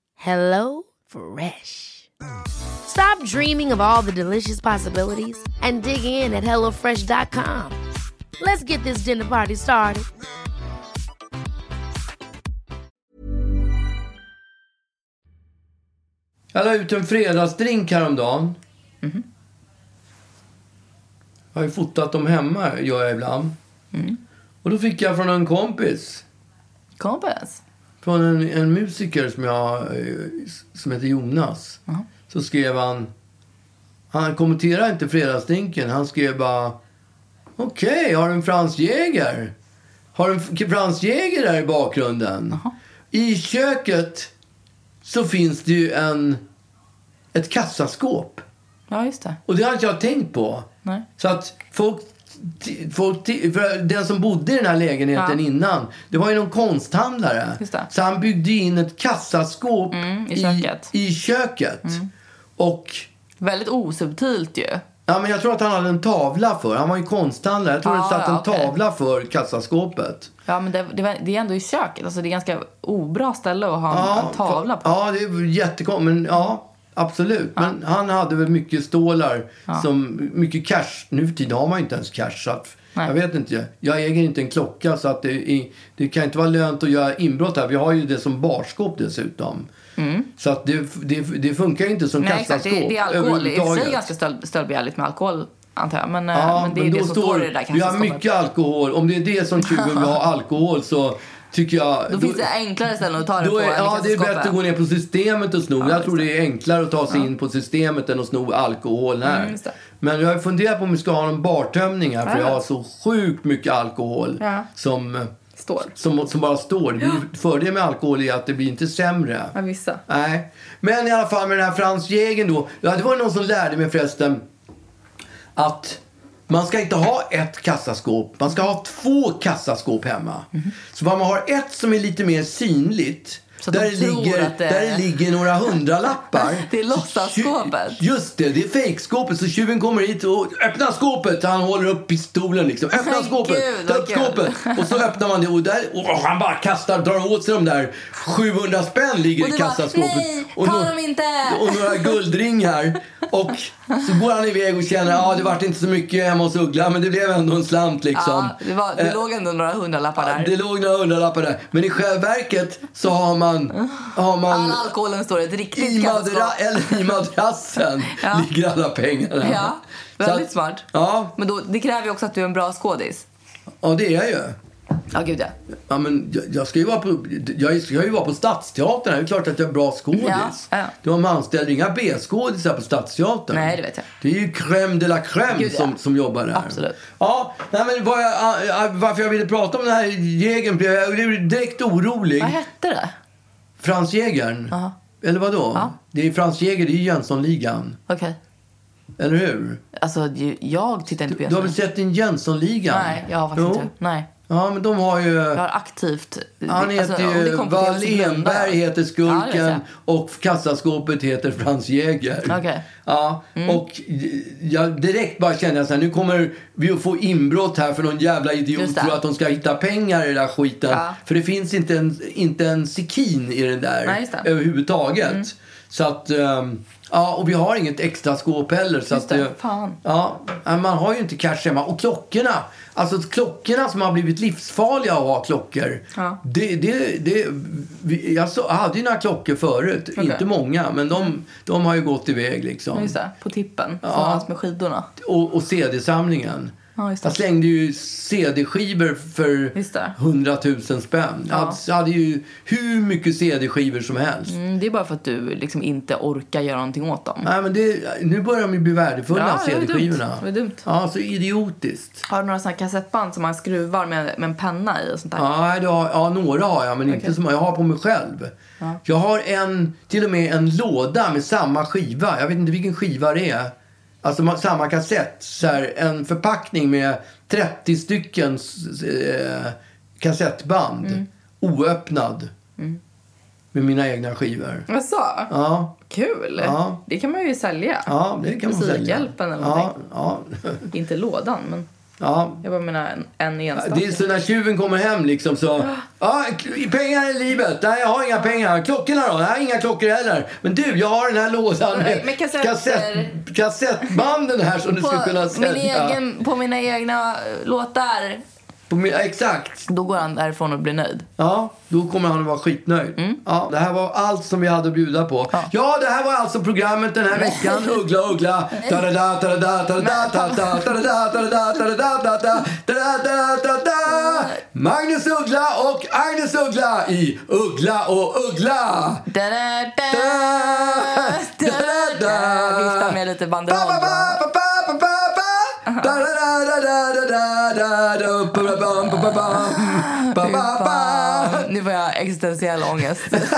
[SPEAKER 3] Hello Fresh. Stop dreaming of all the delicious possibilities and dig in at HelloFresh.com. Let's get this dinner party started.
[SPEAKER 1] Jag la ut en fredagsdrink häromdagen. Jag har ju fotat dem hemma, gör jag ibland. Och då fick jag från en kompis,
[SPEAKER 2] Kompis.
[SPEAKER 1] från en, en musiker som jag, eh, som heter Jonas. Så skrev han, han kommenterade inte fredagsdrinken, han skrev bara Okej, har du en Franz Jäger? Har du en F- Franz Jäger där i bakgrunden? I köket så finns det ju en ett kassaskåp.
[SPEAKER 2] Ja, just det.
[SPEAKER 1] Och det har inte jag tänkt på.
[SPEAKER 2] Nej.
[SPEAKER 1] Så att folk, t- folk t- för den som bodde i den här lägenheten
[SPEAKER 2] Ja.
[SPEAKER 1] innan, det var ju någon konsthandlare.
[SPEAKER 2] Just det. Mm,
[SPEAKER 1] Så han byggde in ett kassaskåp
[SPEAKER 2] i köket. Mm.
[SPEAKER 1] I, i köket. Och
[SPEAKER 2] Väldigt osubtilt ju.
[SPEAKER 1] Ja, men jag tror att han hade en tavla för. Han var ju konsthandlare. Jag tror
[SPEAKER 2] Ja,
[SPEAKER 1] det satt
[SPEAKER 2] ja,
[SPEAKER 1] en
[SPEAKER 2] Ah, okej.
[SPEAKER 1] tavla för kassaskåpet.
[SPEAKER 2] Ja, men det, det, var- det är ändå i köket. Alltså, det är ganska obra ställe att ha en, en tavla på.
[SPEAKER 1] Ja, det är jättekonstigt. Men ja, absolut. Men han hade väl mycket stålar. Som, mycket cash. Nu för tiden har man ju inte ens cash. Så att,
[SPEAKER 2] Nej.
[SPEAKER 1] jag vet inte. Jag äger inte en klocka. Så att det, är, det kan inte vara lönt att göra inbrott här. Vi har ju det som barskåp dessutom. Så att det, det, det funkar ju inte som
[SPEAKER 2] Mm. Nej, exakt.
[SPEAKER 1] kassaskåp
[SPEAKER 2] Det, det är alkohol. Det är i och för sig
[SPEAKER 1] överhuvudtaget.
[SPEAKER 2] ganska stöld, stöldbegärligt med alkohol, antar jag. Men, eh,
[SPEAKER 1] Ja,
[SPEAKER 2] men det är ju
[SPEAKER 1] då
[SPEAKER 2] det som står i det där
[SPEAKER 1] Vi har
[SPEAKER 2] kassaskåpet.
[SPEAKER 1] mycket alkohol. Om det är det som tjuven vill ha, alkohol, så tycker jag...
[SPEAKER 2] Då finns det enklare ställen att ta det
[SPEAKER 1] då
[SPEAKER 2] på
[SPEAKER 1] är,
[SPEAKER 2] än i
[SPEAKER 1] ja, det är
[SPEAKER 2] kassaskåpet.
[SPEAKER 1] bättre att gå ner på systemet och sno. jag
[SPEAKER 2] just
[SPEAKER 1] tror det är enklare att ta sig in på systemet än att sno alkohol här.
[SPEAKER 2] Mm, just det.
[SPEAKER 1] Men jag har funderat på om vi ska ha någon bartömning här, för
[SPEAKER 2] Ja.
[SPEAKER 1] jag har så sjukt mycket alkohol
[SPEAKER 2] Ja.
[SPEAKER 1] som,
[SPEAKER 2] Står.
[SPEAKER 1] som, som bara står. Det blir- Fördelen med alkohol är att det blir inte sämre.
[SPEAKER 2] Ja, vissa.
[SPEAKER 1] Nej. Men i alla fall med den här Franz Jägen då. Ja, det var någon som lärde mig förresten att man ska inte ha ett kassaskåp. Man ska ha två kassaskåp hemma. Så man har ett som är lite mer synligt.
[SPEAKER 2] Mhm. Så att
[SPEAKER 1] där,
[SPEAKER 2] de
[SPEAKER 1] det
[SPEAKER 2] tror
[SPEAKER 1] ligger,
[SPEAKER 2] att det-
[SPEAKER 1] där det ligger några hundralappar.
[SPEAKER 2] Det är låtsasskåpet.
[SPEAKER 1] Just det, det är fejkskåpet. Så tjuven kommer hit och öppnar skåpet. Han håller upp pistolen liksom. Öppna
[SPEAKER 2] Men
[SPEAKER 1] skåpet,
[SPEAKER 2] gud,
[SPEAKER 1] ta
[SPEAKER 2] vad
[SPEAKER 1] upp
[SPEAKER 2] kul.
[SPEAKER 1] skåpet. Och så öppnar man det och, där, och han bara kastar, drar åt sig de där 700 spänn ligger
[SPEAKER 2] Och
[SPEAKER 1] i
[SPEAKER 2] du bara,
[SPEAKER 1] kassaskåpet.
[SPEAKER 2] "Nej, ta
[SPEAKER 1] nå-
[SPEAKER 2] dem inte!"
[SPEAKER 1] Och några guldringar. Och så går han iväg och känner, ja det vart inte så mycket hemma hos Uggla men det blev ändå en slant liksom.
[SPEAKER 2] Ja, det, var, det
[SPEAKER 1] Eh,
[SPEAKER 2] låg ändå några hundralappar där.
[SPEAKER 1] det låg några hundralappar där. Men i själva verket så har man, har man
[SPEAKER 2] All alkoholen står i ett
[SPEAKER 1] i,
[SPEAKER 2] riktigt
[SPEAKER 1] madra-
[SPEAKER 2] kassaskåp.
[SPEAKER 1] eller i madrassen
[SPEAKER 2] Ja.
[SPEAKER 1] ligger alla pengarna.
[SPEAKER 2] Ja,
[SPEAKER 1] Så att-
[SPEAKER 2] väldigt smart.
[SPEAKER 1] Ja,
[SPEAKER 2] Men då, det kräver ju också att du är en bra skådis.
[SPEAKER 1] ja, det är jag ju.
[SPEAKER 2] Ja, gud ja.
[SPEAKER 1] Ja, men jag, jag, ska ju vara på, jag ska ju vara på Stadsteatern. Det är klart att jag är bra skådis.
[SPEAKER 2] Ja, ja.
[SPEAKER 1] Det var man anställde inga B-skådisar på Stadsteatern.
[SPEAKER 2] Nej, det vet jag.
[SPEAKER 1] Det är ju crème de la crème
[SPEAKER 2] Gud, ja.
[SPEAKER 1] som, som jobbar där.
[SPEAKER 2] Absolut.
[SPEAKER 1] Ja, nej, men vad jag, ah, ah, varför jag ville prata om den här Jägern blev jag blev direkt orolig.
[SPEAKER 2] Vad hette det?
[SPEAKER 1] Frans Jägern.
[SPEAKER 2] Aha.
[SPEAKER 1] Eller vadå?
[SPEAKER 2] Ja.
[SPEAKER 1] Det är Frans Jäger, det är ju Jönssonligan.
[SPEAKER 2] Okej.
[SPEAKER 1] Eller hur?
[SPEAKER 2] Alltså, ju- jag tittar inte på
[SPEAKER 1] Du har väl
[SPEAKER 2] Jönssonligan.
[SPEAKER 1] sett en Jönssonliga?
[SPEAKER 2] Nej, jag har faktiskt
[SPEAKER 1] Jo.
[SPEAKER 2] inte. Nej.
[SPEAKER 1] Ja, men de har ju...
[SPEAKER 2] Jag har aktivt... Alltså,
[SPEAKER 1] Han heter
[SPEAKER 2] om det
[SPEAKER 1] ju...
[SPEAKER 2] kom på TV så blundar jag.
[SPEAKER 1] Wallenberg heter
[SPEAKER 2] Ja, det vet
[SPEAKER 1] Skurken
[SPEAKER 2] jag.
[SPEAKER 1] och kassaskåpet heter Frans Jäger.
[SPEAKER 2] Okej. Mm.
[SPEAKER 1] Ja, och jag direkt bara kände jag så här, nu kommer vi att få inbrott här för någon jävla idiot
[SPEAKER 2] Just det.
[SPEAKER 1] tror att de ska hitta pengar i den där skiten.
[SPEAKER 2] Ja.
[SPEAKER 1] För det finns inte en, inte en sekin i den där
[SPEAKER 2] Nej, just det. Mm.
[SPEAKER 1] överhuvudtaget. Så att... ehm, Ja, och vi har inget extra skåp heller. Så
[SPEAKER 2] Just
[SPEAKER 1] att,
[SPEAKER 2] det,
[SPEAKER 1] eh,
[SPEAKER 2] fan.
[SPEAKER 1] Ja, man har ju inte cash hemma. Och klockorna, alltså klockorna som har blivit livsfarliga att ha klockor.
[SPEAKER 2] Ja.
[SPEAKER 1] Det, det, det, vi, jag, så, jag hade ju några klockor förut, inte många, men de, de har ju gått iväg liksom.
[SPEAKER 2] Just det, på tippen. Som
[SPEAKER 1] Ja.
[SPEAKER 2] hans med skidorna.
[SPEAKER 1] Och, och CD-samlingen.
[SPEAKER 2] Ja, just det.
[SPEAKER 1] jag slängde ju CD-skivor för
[SPEAKER 2] Just det.
[SPEAKER 1] 100 000 spänn. Jag
[SPEAKER 2] Ja.
[SPEAKER 1] hade- Jag hade ju hur mycket CD-skivor som helst.
[SPEAKER 2] Mm, det är bara för att du liksom inte orkar göra någonting åt dem.
[SPEAKER 1] Nej, men det, nu börjar de ju bli värdefulla,
[SPEAKER 2] Ja, det är dumt.
[SPEAKER 1] CD-skivorna.
[SPEAKER 2] Det är dumt.
[SPEAKER 1] Ja, så idiotiskt.
[SPEAKER 2] Har du några sådana kassettband som man skruvar med, med en penna i och sånt där?
[SPEAKER 1] Ja, nej, det har, ja, några har jag, men inte så många. Jag har på mig själv. Jag har en, till och med en låda med samma skiva. Jag vet inte vilken skiva det är. Alltså ma- samma kassett. Så här, en förpackning med 30 stycken s- eh, kassettband.
[SPEAKER 2] Mm.
[SPEAKER 1] Oöppnad. Med mina egna skivor.
[SPEAKER 2] Jaså?
[SPEAKER 1] Ja,
[SPEAKER 2] Kul!
[SPEAKER 1] Ja.
[SPEAKER 2] Det kan man ju sälja.
[SPEAKER 1] ja det kan man säga.
[SPEAKER 2] Musikhjälpen eller
[SPEAKER 1] ja,
[SPEAKER 2] någonting.
[SPEAKER 1] ja,
[SPEAKER 2] Inte lådan, men
[SPEAKER 1] ja,
[SPEAKER 2] jag bara menar en, en enstaka.
[SPEAKER 1] Det är så när tjuven kommer hem liksom så... Ja, k- pengar är livet. Nej, jag har inga pengar. Klockorna då? Nej, inga klockor heller. Men du, jag har den här lådan med,
[SPEAKER 2] Med kassetter.
[SPEAKER 1] kassett- kassettbanden här som du ska kunna
[SPEAKER 2] på, min
[SPEAKER 1] sälja.
[SPEAKER 2] egen, på mina egna eh, låtar.
[SPEAKER 1] På min, exakt.
[SPEAKER 2] Då går han därifrån och blir nöjd.
[SPEAKER 1] Ja, då kommer han att vara skitnöjd.
[SPEAKER 2] Mm.
[SPEAKER 1] Ja, det här var allt som vi hade att bjuda på. Ja, det här var alltså programmet den här veckan. Uggla, uggla. Ta-da-da, ta-da-da, ta-da-da, ta-da-da, ta-da-da, ta-da-da, ta-da-da, ta-da-da, ta-da-da, ta-da-da. Magnus Uggla och Agnes Uggla i Uggla och Uggla.
[SPEAKER 2] Da, da, da,
[SPEAKER 1] Da, da, da, da.
[SPEAKER 2] Viftar med lite banderoll.
[SPEAKER 1] Ba, ba, ba, ba, ba, ba, ba, ba. Da, da, da, da, da, da, da, da. Ba, ba, ba, ba, ba, ba. Ba, ba,
[SPEAKER 2] Fy
[SPEAKER 1] ba.
[SPEAKER 2] fan. Nu får jag existentiell ångest.